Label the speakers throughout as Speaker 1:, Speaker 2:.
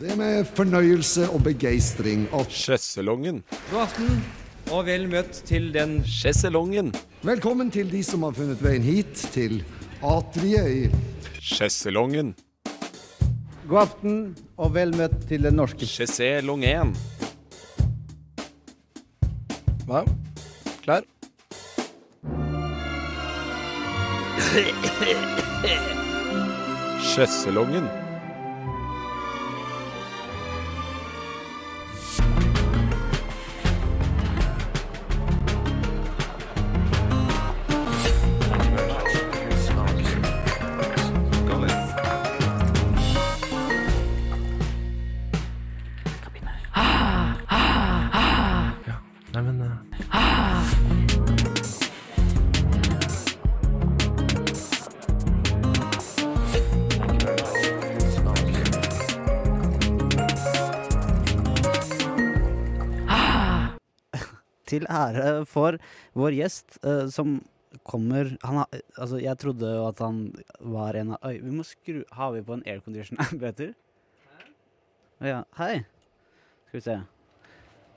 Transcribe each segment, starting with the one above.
Speaker 1: Det er med fornøyelse og begeistring og
Speaker 2: Sjeselongen.
Speaker 3: God aften og vel møtt til den
Speaker 2: Sjeselongen.
Speaker 1: Velkommen til de som har funnet veien hit, til atriet i
Speaker 2: Sjeselongen.
Speaker 4: God aften og vel møtt til den norske
Speaker 2: Sjeselongen. Hva? Klar? Sjeselongen.
Speaker 5: Nei, men eh,
Speaker 6: til ære for vår gjest, eh, som kommer han har, Altså, jeg trodde jo at han var en av Oi, vi må skru Har vi på en aircondition, Peter? Å Ja, hei. Skal vi se.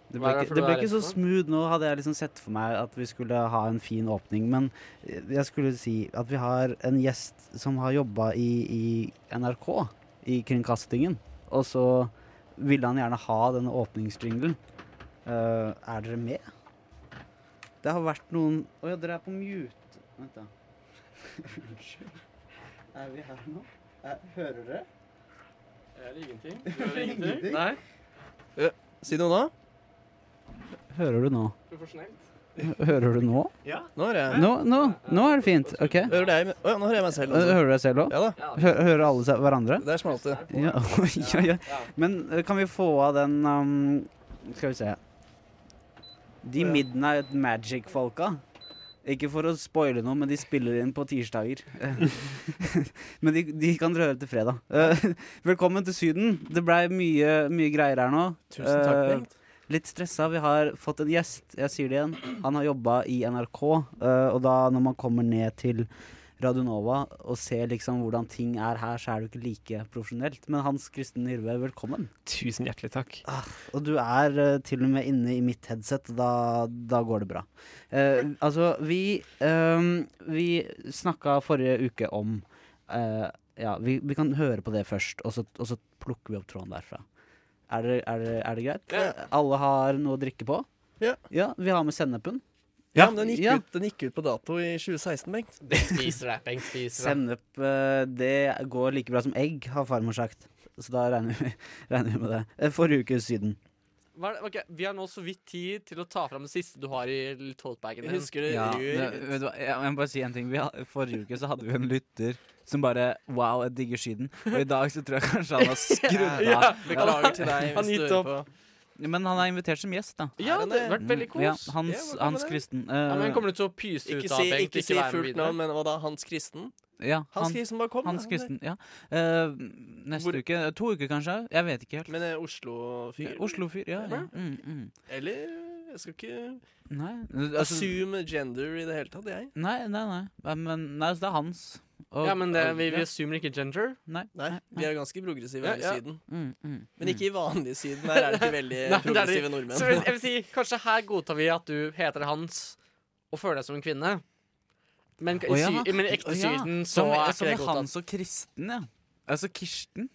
Speaker 6: Det ble,
Speaker 7: Hva er det
Speaker 6: ikke,
Speaker 7: for
Speaker 6: det
Speaker 7: du
Speaker 6: ble
Speaker 7: er
Speaker 6: ikke
Speaker 7: redd
Speaker 6: så
Speaker 7: for?
Speaker 6: smooth nå, hadde jeg liksom sett for meg at vi skulle ha en fin åpning, men eh, jeg skulle si at vi har en gjest som har jobba i, i NRK, i kringkastingen, og så ville han gjerne ha denne åpningsjinglen. Eh, er dere med? Det har vært noen Å ja, dere er på mute. Vent, da. Unnskyld. Er vi her nå? Er, hører dere?
Speaker 7: Jeg hører ingenting. Du hører ingenting?
Speaker 6: Ingenting?
Speaker 7: Nei. Ø, Si noe nå.
Speaker 6: Hører du nå?
Speaker 7: Profesjonelt.
Speaker 6: Hører du nå?
Speaker 7: Nå hører jeg.
Speaker 6: Nå, nå, nå er det fint. OK. Eh,
Speaker 7: Hører deg, Å ja, nå hører jeg meg selv. Også.
Speaker 6: Hører du deg selv òg?
Speaker 7: Ja da.
Speaker 6: Hører alle seg- hverandre?
Speaker 7: Det er smalt, det.
Speaker 6: Ja, ja, ja. Men eh, kan vi få av den um, Skal vi se De Midnight Magic-folka. Ikke for å spoile noe, men de spiller inn på tirsdager. men de, de kan dere høre til fredag. Eh, velkommen til Syden. Det blei mye, mye greier her nå.
Speaker 7: Tusen takk,
Speaker 6: Eh,
Speaker 7: Bengt.
Speaker 6: Litt stressa. Vi har fått en gjest. Jeg sier det igjen. Han har jobba i NRK, eh, og da når man kommer ned til Radionova og ser liksom hvordan ting er her, så er det jo ikke like profesjonelt. Men Hans Kristen Hyrve, velkommen.
Speaker 5: tusen hjertelig takk.
Speaker 6: Og du er eh, til og med inne i mitt headset, og da, da går det bra. Eh, altså, vi, um, vi snakka forrige uke om eh, Ja, vi, vi kan høre på det først, og så, og så plukker vi opp tråden derfra. Er det, er det, er det greit? Alle har noe å drikke på?
Speaker 7: Ja.
Speaker 6: Vi har med sennepen.
Speaker 7: Ja, men den gikk,
Speaker 6: Ja.
Speaker 7: Ut, den gikk ut på dato i 2016, Bengt.
Speaker 8: Spiser deg, Bengt. Spiser deg.
Speaker 6: Sennep, eh, det går like bra som egg, har farmor sagt. Så da regner vi, regner vi med det. Eh, Forrige uke Syden.
Speaker 8: Hva er det- ok, vi har nå så vidt tid til å ta fram det siste du har i lille totebagen
Speaker 7: Jeg
Speaker 8: din.
Speaker 7: husker det.
Speaker 5: Ja, det,
Speaker 7: rør.
Speaker 5: vet du hva, jeg jeg må bare si en ting. Vi had, forrige uke så hadde vi en lytter som bare Wow, jeg digger Syden. Og i dag så tror jeg kanskje han har skrudd
Speaker 8: Ja,
Speaker 5: av.
Speaker 7: Beklager til deg.
Speaker 8: Han
Speaker 7: hvis du
Speaker 8: gitt
Speaker 7: hører
Speaker 8: opp.
Speaker 7: på.
Speaker 5: Men han er invitert som gjest, da.
Speaker 8: Ja, det har vært veldig kos.
Speaker 5: Ja,
Speaker 8: Ja,
Speaker 5: Hans,
Speaker 7: Ja, hva kan
Speaker 5: Hans
Speaker 7: det?
Speaker 5: Kristen.
Speaker 8: men
Speaker 5: eh,
Speaker 8: kommer du til å pyse ut
Speaker 7: Ikke
Speaker 8: av
Speaker 7: si,
Speaker 8: Bengt?
Speaker 7: ikke si
Speaker 8: være med
Speaker 7: fullt
Speaker 8: videre?
Speaker 7: navn, men hva da? Hans Kristen?
Speaker 5: ja,
Speaker 7: Hans
Speaker 5: han,
Speaker 7: Kristen, bare kom. da.
Speaker 5: Hans
Speaker 7: Han er-
Speaker 5: Kristen, ja. Eh, neste
Speaker 7: Hvor-
Speaker 5: uke. To uker kanskje? Jeg vet ikke helt.
Speaker 7: Men eh, Oslo-fyr?
Speaker 5: Oslo-fyr, ja. ja. Mm, mm.
Speaker 7: Eller jeg skal ikke
Speaker 5: Nei.
Speaker 7: assume gender i det hele tatt, jeg.
Speaker 5: nei, nei, nei. Ja, Men nei, så det er hans. Og-
Speaker 8: Ja, men det, vi,
Speaker 5: ja.
Speaker 8: vi assumer ikke gender.
Speaker 5: Nei.
Speaker 7: Nei, vi er ganske progressive
Speaker 8: Ja,
Speaker 7: her i
Speaker 8: ja.
Speaker 7: Syden.
Speaker 5: Mm, mm.
Speaker 7: Men ikke i vanlig Syden. Her er det ikke veldig
Speaker 8: Nei, det er det-
Speaker 7: progressive
Speaker 8: Så jeg,
Speaker 7: nordmenn.
Speaker 8: jeg vil si, kanskje her godtar vi at du heter Hans og føler deg som en kvinne. Men i,
Speaker 5: Å, ja.
Speaker 8: sy, men i ekte
Speaker 5: Å, ja.
Speaker 8: Syden så
Speaker 5: Som,
Speaker 8: er ikke
Speaker 5: som
Speaker 8: det
Speaker 5: i
Speaker 8: godtatt.
Speaker 5: Hans og Kristen, ja. Altså Kirsten.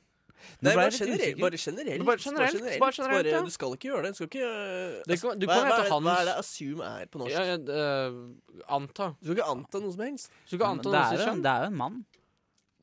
Speaker 5: Nå ble
Speaker 7: Nei, bare
Speaker 5: jeg litt
Speaker 7: generelt.
Speaker 5: usikker.
Speaker 7: Bare generelt.
Speaker 8: Bare generelt, bare generelt, ja.
Speaker 7: Bare, du skal ikke gjøre det. Du skal ikke øh,
Speaker 8: Det
Speaker 7: altså,
Speaker 8: kan- du
Speaker 7: hva,
Speaker 8: kan
Speaker 7: hva,
Speaker 8: hete
Speaker 7: er det, hva
Speaker 8: Hans.
Speaker 7: er det assume er på norsk?
Speaker 8: Ja, ja, eh, anta.
Speaker 7: Du skal ikke anta noe som helst.
Speaker 8: Så du
Speaker 5: Men
Speaker 8: kan anta
Speaker 5: det,
Speaker 8: noe
Speaker 5: er jo,
Speaker 8: som
Speaker 5: det er jo en mann.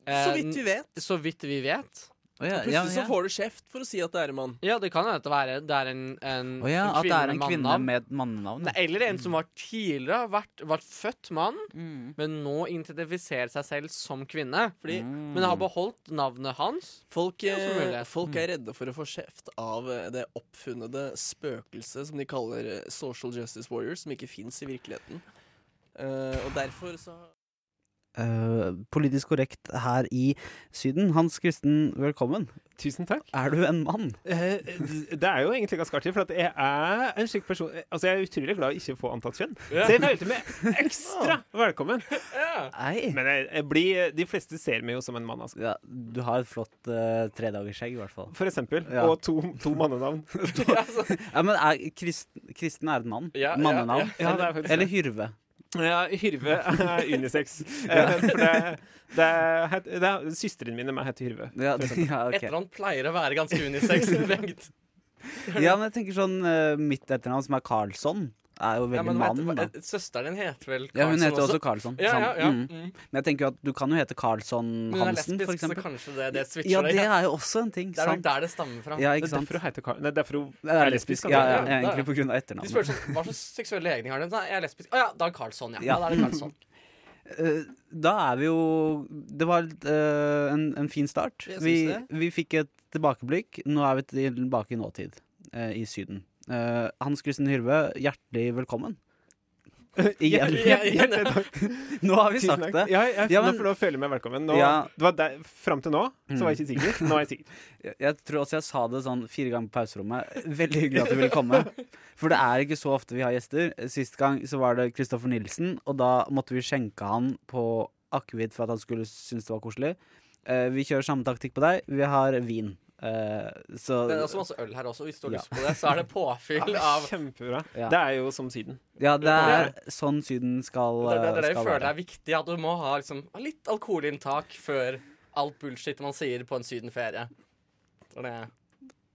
Speaker 8: Eh,
Speaker 7: Så vidt vi vet.
Speaker 8: Så vidt vi vet.
Speaker 5: Å ja, ja,
Speaker 7: Plutselig
Speaker 5: ja.
Speaker 7: så får du kjeft for å si at det er en mann.
Speaker 8: Ja, det kan hende at det er, det er en, en,
Speaker 5: Å ja,
Speaker 8: en
Speaker 5: at det er en
Speaker 8: med
Speaker 5: kvinne
Speaker 8: mannenavn.
Speaker 5: med et mannenavn.
Speaker 8: Nei,
Speaker 5: ja.
Speaker 8: Eller en som var tidligere vært, vært født mann,
Speaker 5: Mm.
Speaker 8: men nå identifiserer seg selv som kvinne.
Speaker 7: Fordi
Speaker 8: Men har beholdt navnet hans.
Speaker 7: folk,
Speaker 8: er også
Speaker 7: eh,
Speaker 8: mulighet. Mm.
Speaker 7: folk er redde for å få kjeft av eh, det oppfunnede spøkelset som de kaller eh, social justice warriors, som ikke fins i virkeligheten. Eh, og derfor så
Speaker 6: eh, politisk korrekt her i Syden. Hans Kristen, velkommen.
Speaker 9: Tusen takk.
Speaker 6: Er du en mann?
Speaker 9: Eh, Det er jo egentlig ganske artig, for at jeg er en slik person Altså, jeg er utrolig glad i ikke å få antatt kjønn, så jeg følte meg ekstra velkommen.
Speaker 6: Nei.
Speaker 9: Men jeg, jeg blir, de fleste ser meg jo som en mann, altså.
Speaker 6: Ja, du har et flott uh, tredagersskjegg, i hvert fall.
Speaker 9: For eksempel.
Speaker 6: Ja.
Speaker 9: Og to, to mannenavn.
Speaker 6: Ja, men er, kristen, kristen er et mann.
Speaker 8: Ja, ja,
Speaker 6: Mannenavn.
Speaker 9: Ja, det er faktisk
Speaker 6: Eller Hyrve.
Speaker 9: Ja, Hyrve er unisex. Eh, For det, det, er- det, er- Søstrene mine og meg heter Hyrve.
Speaker 6: Ja, ja, ok.
Speaker 8: Etternavn pleier å være ganske unisex. Bengt.
Speaker 6: ja, men jeg tenker sånn eh, mitt etternavn, som er Karlsson, er jo
Speaker 8: Ja,
Speaker 6: veldig
Speaker 8: men vet
Speaker 6: mann,
Speaker 8: du hva,
Speaker 6: da.
Speaker 8: eh, Søsteren din heter vel
Speaker 6: Ja, hun
Speaker 8: Karlsson
Speaker 6: heter også Karlsson.
Speaker 8: Ja, ja,
Speaker 6: sant?
Speaker 8: ja.
Speaker 6: Mm.
Speaker 8: Mm.
Speaker 6: Men jeg tenker jo at du kan jo hete Karlsson
Speaker 8: Men hun er
Speaker 6: Hansen, for
Speaker 8: lesbisk, så
Speaker 6: eksempel.
Speaker 8: kanskje det, det switcher
Speaker 6: Ja, det
Speaker 8: deg.
Speaker 6: er jo også en ting.
Speaker 8: Det er nok
Speaker 6: Sant?
Speaker 8: der det stammer fra.
Speaker 6: Ja,
Speaker 9: Det
Speaker 6: ikke
Speaker 9: er
Speaker 6: sant.
Speaker 9: derfor hun heter Karl... Nei, derfor hun
Speaker 6: Det er lesbisk,
Speaker 9: altså.
Speaker 6: ja, ja,
Speaker 8: Ja, det er
Speaker 6: egentlig
Speaker 8: det.
Speaker 6: på grunn av
Speaker 8: Du
Speaker 6: etternavnet.
Speaker 8: spurte sånn, hva slags seksuelle legning har du? Nei, jeg er lesbisk. Å ja, da er Karlsson, ja.
Speaker 6: Ja.
Speaker 8: ja. Da er det Karlsson.
Speaker 6: Eh, Da er vi jo Det var eh, en, en fin start.
Speaker 7: Jeg syns
Speaker 6: Vi,
Speaker 7: det.
Speaker 6: vi fikk et tilbakeblikk. Nå er vi tilbake i nåtid, eh, i Syden. Eh, Hans Kristen Hyrve, hjertelig velkommen. Igjen.
Speaker 9: Hjertelig takk.
Speaker 6: Nå har vi
Speaker 9: Tusen
Speaker 6: sagt
Speaker 9: takk.
Speaker 6: det.
Speaker 9: Ja, jeg,
Speaker 6: Ja,
Speaker 9: nå
Speaker 6: men-
Speaker 9: får du føle meg velkommen. Nå,
Speaker 6: Ja.
Speaker 9: det var der, fram til nå så var jeg ikke sikker. Nå er jeg sikker.
Speaker 6: Jeg- Jeg tror også jeg sa det sånn fire ganger på pauserommet. Veldig hyggelig at du ville komme. For det er ikke så ofte vi har gjester. Sist gang så var det Kristoffer Nilsen, og da måtte vi skjenke han på akevitt for at han skulle synes det var koselig. Eh, vi kjører samme taktikk på deg. Vi har vin. Eh, så
Speaker 8: Det er altså- også masse øl her også. Hvis du har
Speaker 6: Ja.
Speaker 8: lyst på det, så er det påfyll
Speaker 9: Ja,
Speaker 8: av
Speaker 9: Kjempebra.
Speaker 6: Ja.
Speaker 9: Det er jo som Syden.
Speaker 6: Ja, det er sånn Syden skal,
Speaker 8: Det er det, det, er det
Speaker 6: skal
Speaker 8: jeg føler
Speaker 6: være.
Speaker 8: er viktig, at du må ha liksom, ha litt alkoholinntak før alt bullshit man sier på en sydenferie. Det er det.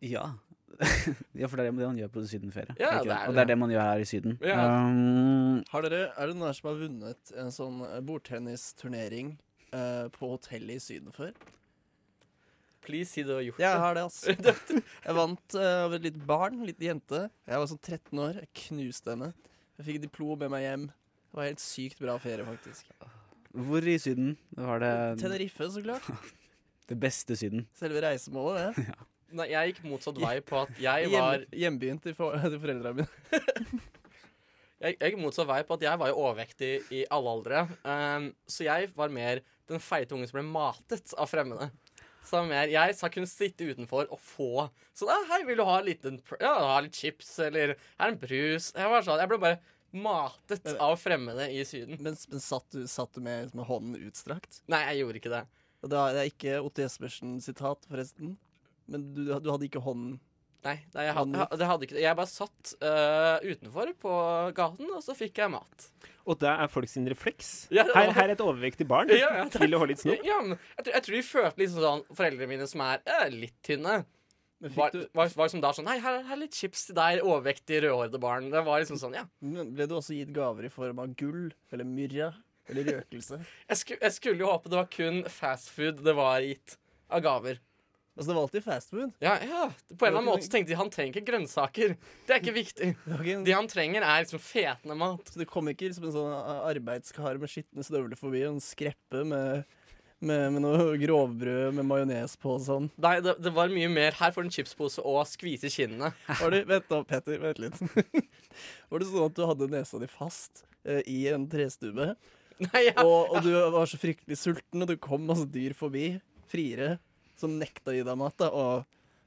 Speaker 6: Ja. ja, for det er det man gjør på sydenferie.
Speaker 8: Ja,
Speaker 6: er ikke
Speaker 8: det
Speaker 6: Og
Speaker 8: er
Speaker 6: det
Speaker 8: det.
Speaker 6: er det man gjør her i Syden.
Speaker 8: Ja.
Speaker 6: Um,
Speaker 7: Har dere, er det noen her som har vunnet en sånn eh, bordtennisturnering eh, på hotellet i Syden før?
Speaker 8: Please si du har gjort
Speaker 7: Ja, jeg
Speaker 8: det.
Speaker 7: har det, altså. Jeg vant eh, over et lite barn, en liten jente. Jeg var sånn 13 år. Jeg knuste henne. Jeg fikk et diplom med meg hjem. Det var helt sykt bra ferie, faktisk.
Speaker 6: hvor i Syden var det
Speaker 7: Tenerife, så klart.
Speaker 6: det beste Syden?
Speaker 7: Selve reisemålet, det.
Speaker 8: Nei, jeg gikk motsatt vei på at jeg var
Speaker 7: Hjem, hjembyen til, for, til foreldrene mine.
Speaker 8: Jeg, jeg gikk motsatt vei på at jeg var jo overvektig i alle aldre. Ehm, så jeg var mer den feite ungen som ble matet av fremmede. Så det var mer, jeg skal kunne sitte utenfor og få sånn «Ah, 'Hei, vil du ha, en liten, pr- ja, ha litt chips?' Eller 'Her er en brus?' Jeg, var sånn, jeg ble bare matet av fremmede i Syden.
Speaker 7: Men, men satt, du, satt du med, med hånden utstrakt?
Speaker 8: Nei, jeg gjorde ikke det.
Speaker 7: Og det er- det er ikke Otto Jespersen-sitat, forresten. Men du, du hadde ikke hånden
Speaker 8: Nei, nei jeg, hadde, jeg, det hadde ikke, det. jeg bare satt eh, utenfor på gaten, og så fikk jeg mat.
Speaker 9: Og det er folk sin refleks.
Speaker 8: Ja, det-
Speaker 9: Her, her er et overvektig barn.
Speaker 8: Ja, ja, det-
Speaker 9: Vil du ha litt snop?
Speaker 8: Ja, men jeg, tror- jeg tror de følte liksom sånn Foreldrene mine som er eh, litt tynne.
Speaker 7: Men fikk
Speaker 8: var,
Speaker 7: du-
Speaker 8: var, var som da sånn Hei, her her er litt chips til deg, overvektig, rødhårede barn. Det var liksom sånn, ja.
Speaker 7: Men Ble du også gitt gaver i form av gull eller myrra eller røkelse?
Speaker 8: Jeg, sku, jeg skulle jo håpe det var kun fastfood det var gitt av gaver.
Speaker 7: Altså, det var alltid fast food.
Speaker 8: Ja, ja. På en eller annen måte så tenkte de han trenger ikke grønnsaker. Det er ikke viktig.
Speaker 7: Det var ikke en-
Speaker 8: Det han trenger, er liksom fetende mat.
Speaker 7: Så det kom ikke som en sånn a- arbeidskar med skitne støvler forbi og en skreppe med, med, med noe grovbrød med majones på og sånn.
Speaker 8: Nei, det, det var mye mer. Her får du en chipspose og skvise kinnene.
Speaker 7: Var det, vent da, Petter, vent litt. Var det sånn at du hadde nesa di fast eh, i en trestube,
Speaker 8: Nei, ja.
Speaker 7: og, og du var så fryktelig sulten, og det kom masse dyr forbi, friere, som nekta å gi deg mat, da, og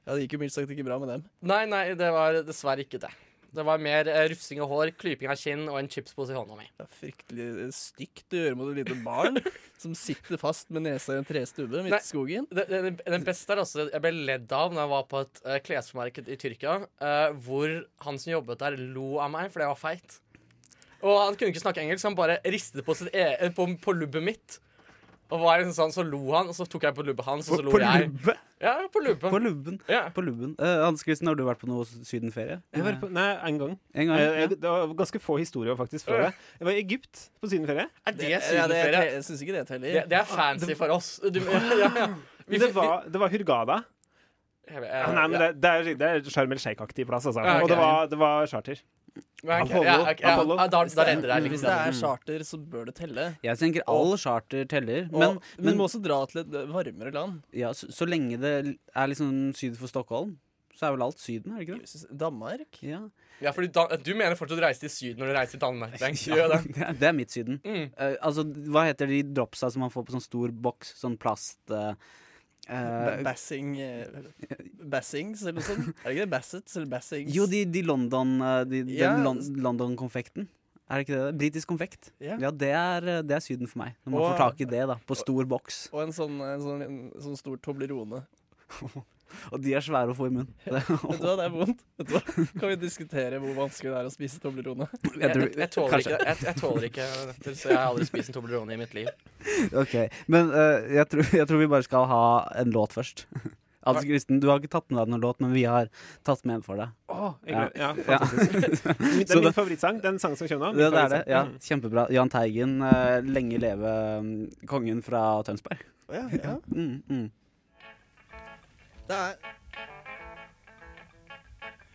Speaker 7: ja, det gikk jo mildt sagt ikke bra med dem.
Speaker 8: nei, nei, det var dessverre ikke det. Det var mer eh, rufsing av hår, klyping av kinn og en chipspose i hånda mi.
Speaker 7: Det er fryktelig eh, stygt å gjøre mot et lite barn som sitter fast med nesa i en trestubbe midt
Speaker 8: Nei.
Speaker 7: i skogen.
Speaker 8: Det- det- Den, den beste er altså Jeg ble ledd av når jeg var på et eh, klesmarked i Tyrkia, eh, hvor han som jobbet der, lo av meg fordi jeg var feit. Og han kunne ikke snakke engelsk, så han bare ristet på, sitt e eh, på, på lubbet mitt. Og var liksom sånn, Så lo han, og så tok jeg på lubbet hans, og så lo jeg.
Speaker 9: lubbe?
Speaker 8: Ja, på lubbet.
Speaker 6: På lubben.
Speaker 8: ja.
Speaker 6: På lubben. Eh, Hans Kristen, har du vært på noe sydenferie?
Speaker 9: Jeg var på, nei, en gang.
Speaker 6: En gang?
Speaker 9: Eh, jeg, det var ganske få historier faktisk fra det. Jeg var i Egypt på sydenferie.
Speaker 8: Er det
Speaker 7: Ja, det,
Speaker 8: sydenferie?
Speaker 7: jeg syns ikke det teller.
Speaker 8: Det, det er fancy for oss. Du, ja, ja. Vi-
Speaker 9: Det var, det var Hurghada.
Speaker 8: vi- jeg- jeg-
Speaker 9: Ah, Nei, men det, det er, det er Sharm el Sheikh-aktig plass, altså.
Speaker 8: Ja, ok.
Speaker 9: Og det var, det var charter.
Speaker 8: ja, ok,
Speaker 9: Apollo,
Speaker 8: ja, ok, ja,
Speaker 9: Apollo.
Speaker 8: ja, Da da redder jeg
Speaker 7: Hvis
Speaker 8: liksom.
Speaker 7: det er charter, så bør det telle.
Speaker 6: Jeg tenker all charter teller,
Speaker 7: Og,
Speaker 6: men,
Speaker 7: men
Speaker 6: men
Speaker 7: du må også dra til et varmere land.
Speaker 6: ja, så, så lenge det er liksom syd for Stockholm, så er vel alt Syden, er det ikke det?
Speaker 7: Danmark?
Speaker 6: Ja.
Speaker 8: Ja, fordi da, du mener fortsatt å reise til Syden når du reiser til Danmark. Bengt. Du gjør det.
Speaker 6: Det er, det er mitt Syden.
Speaker 8: Mm.
Speaker 6: Eh, altså, hva heter de dropsa som man får på sånn stor boks, sånn plast eh, eh,
Speaker 7: Ba- Bassing eh, Bassings, eller noe sånt? Er det ikke det? Bassets eller Bassings?
Speaker 6: Jo, de, de London eh, de, Den
Speaker 7: Ja.
Speaker 6: Lon London-konfekten. Er det ikke det? Britisk konfekt.
Speaker 7: Ja.
Speaker 6: Ja, det er, eh, det er Syden for meg. Når man
Speaker 7: Og-
Speaker 6: får tak i det, da. På stor boks.
Speaker 7: Og en sånn, en sånn, en sånn stor toblerone.
Speaker 6: Og de er svære å få i munnen. Det,
Speaker 7: Vet du hva, det er vondt. Vet du hva? Kan vi diskutere hvor vanskelig det er å spise toblerone?
Speaker 8: Jeg, jeg, jeg, tåler
Speaker 6: Kanskje.
Speaker 8: ikke, jeg, jeg tåler ikke nøtter, så jeg har aldri spist en Toblerone i mitt liv.
Speaker 6: Ok, men eh, jeg, tror, jeg tror vi bare skal ha en låt først. Hans Kristen, du har ikke tatt med deg noen låt, men vi har tatt med en for deg.
Speaker 9: Åh, jeg gleder- ja.
Speaker 6: Ja.
Speaker 9: Min- Det
Speaker 6: Så
Speaker 9: er
Speaker 6: det-
Speaker 9: min favorittsang. Den sangen som kommer nå.
Speaker 6: Det,
Speaker 9: min
Speaker 6: det er det.
Speaker 9: favorittsang.
Speaker 6: ja,
Speaker 9: Mm.
Speaker 6: Kjempebra. Jahn Teigen, eh, lenge leve mm, kongen fra Tønsberg.
Speaker 7: Ja, ja.
Speaker 6: Mm, mm.
Speaker 7: Det er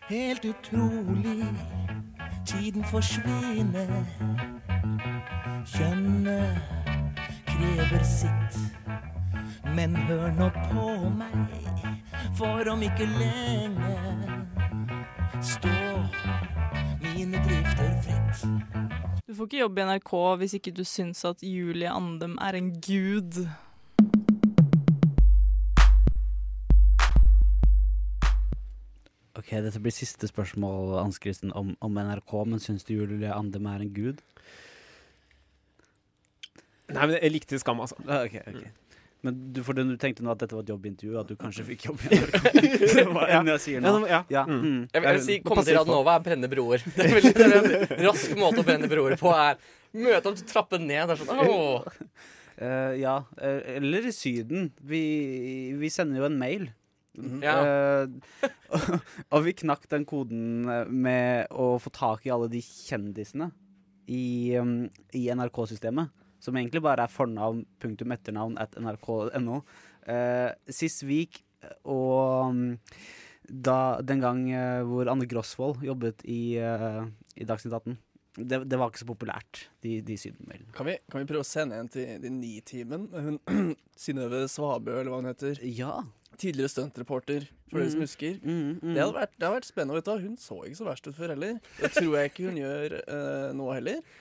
Speaker 10: Helt utrolig, tiden forsvinner. Kjønnet krever sitt. Men hør nå på meg, for om ikke lenge står mine drifter fritt.
Speaker 11: Du får ikke jobb i NRK hvis ikke du syns at Julie Andem er en gud.
Speaker 6: Ok, Dette blir siste spørsmål Hans Kristen, om, om NRK, men syns du Julie Andem er en gud?
Speaker 9: Nei, men jeg likte Skam, altså.
Speaker 6: Ah, Ok, ok Men du, for den, du tenkte nå at dette var et jobbintervju, at du kanskje fikk jobb i NRK? Det var det jeg sier
Speaker 9: Ja,
Speaker 6: nå.
Speaker 9: nå- ja.
Speaker 6: Ja,
Speaker 9: Mm.
Speaker 6: mm.
Speaker 8: Jeg vil, jeg vil si, Komme til
Speaker 6: Passer på.
Speaker 8: Radnova er brenne broer. Det vil, det vil jeg si. Rask måte å brenne broer på er møte opp, trappe ned. Det er sånn, åh.
Speaker 6: Eh, ja, eh, eller i Syden. Vi, vi sender jo en mail.
Speaker 7: Mhm.
Speaker 8: Ja.
Speaker 6: Eh, og, og vi knakk den koden eh, med å få tak i alle de kjendisene i, um, i NRK-systemet. Som egentlig bare er fornavn, punktum etternavn at nrk.no. Uh, Sist Vik og um, da, den gang eh, hvor Anne Grosvold jobbet i, eh, i Dagsnytt 18. Det, det var ikke så populært, de, de sydenmailene.
Speaker 7: Kan vi, kan vi prøve å sende en til, til Nitimen? Hun Synnøve Svabø, eller hva hun heter.
Speaker 6: Ja.
Speaker 7: Tidligere stuntreporter, for dere som
Speaker 6: Mm.
Speaker 7: husker.
Speaker 6: Mm, mm.
Speaker 7: Det hadde vært, det hadde vært spennende. Vet du. hva, Hun så ikke så verst ut før heller. Det tror jeg ikke hun gjør eh, nå heller.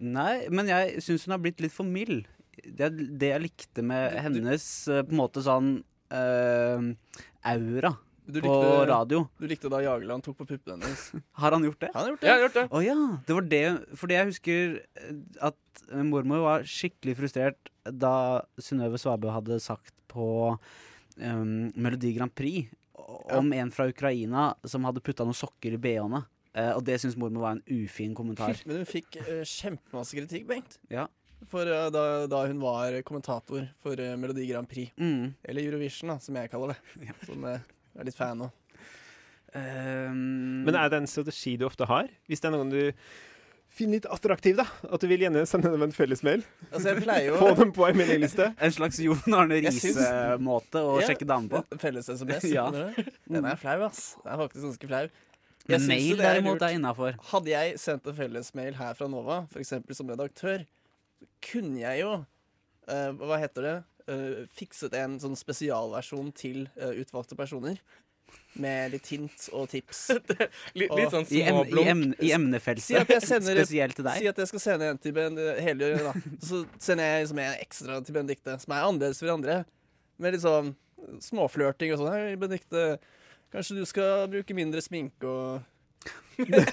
Speaker 6: Nei, men jeg syns hun har blitt litt for mild. Det, er det jeg likte med hennes eh, på en måte sånn eh, aura
Speaker 7: Du
Speaker 6: på
Speaker 7: likte,
Speaker 6: radio.
Speaker 7: du likte da Jageland tok på puppene hennes.
Speaker 6: Har han gjort det?
Speaker 7: Han har gjort
Speaker 8: Jeg
Speaker 7: det.
Speaker 8: har gjort det.
Speaker 6: Å ja! Det var det Fordi jeg husker eh, at mormor var skikkelig frustrert da Synnøve Svabø hadde sagt på eh, Melodi Grand Prix om en fra Ukraina som hadde putta noen sokker i bh-ene. Eh, og det syns mormor var en ufin kommentar.
Speaker 7: Men hun fikk eh, kjempemasse kritikk, Bengt.
Speaker 6: Ja.
Speaker 7: For eh, da, da hun var kommentator for eh, Melodi Grand Prix.
Speaker 6: Mm.
Speaker 7: Eller Eurovision, da, som jeg kaller det. Som eh, jeg er litt fan av. Ehm,
Speaker 9: Men er det en strategi du ofte har? Hvis det er noen du finner litt attraktiv, da? At du vil gjerne sende dem en fellesmail?
Speaker 7: Altså, jeg pleier
Speaker 9: Få
Speaker 7: jo
Speaker 9: dem på ei meldingliste?
Speaker 6: En slags Jon Arne
Speaker 7: Jeg syns-
Speaker 6: Riise-måte å
Speaker 7: Ja.
Speaker 6: sjekke damer på.
Speaker 7: Felles-SMS.
Speaker 6: Ja.
Speaker 7: Den er flau, ass. Den er faktisk ganske flau. Jeg
Speaker 6: Men
Speaker 7: syns jo
Speaker 6: mail
Speaker 7: det er
Speaker 6: derimot
Speaker 7: lurt. Altså,
Speaker 6: er innafor.
Speaker 7: Hadde jeg sendt en fellesmail her fra Nova, f.eks. som redaktør, så kunne jeg jo eh, Hva heter det? eh, fikset en sånn spesialversjon til eh, utvalgte personer. Med litt hint og tips.
Speaker 8: Litt, litt sånn
Speaker 6: I, em i,
Speaker 8: småblunk.
Speaker 6: emne- i
Speaker 7: Si at
Speaker 6: emnefeltet.
Speaker 7: jeg sender
Speaker 6: Spesielt til
Speaker 7: Si
Speaker 6: deg.
Speaker 7: at jeg skal sende en til ben, hele, da. Så sender jeg liksom en ekstra til Benedicte, som er annerledes for de andre. Med litt sånn småflørting og sånn. Hei, Benedicte, kanskje du skal bruke mindre sminke og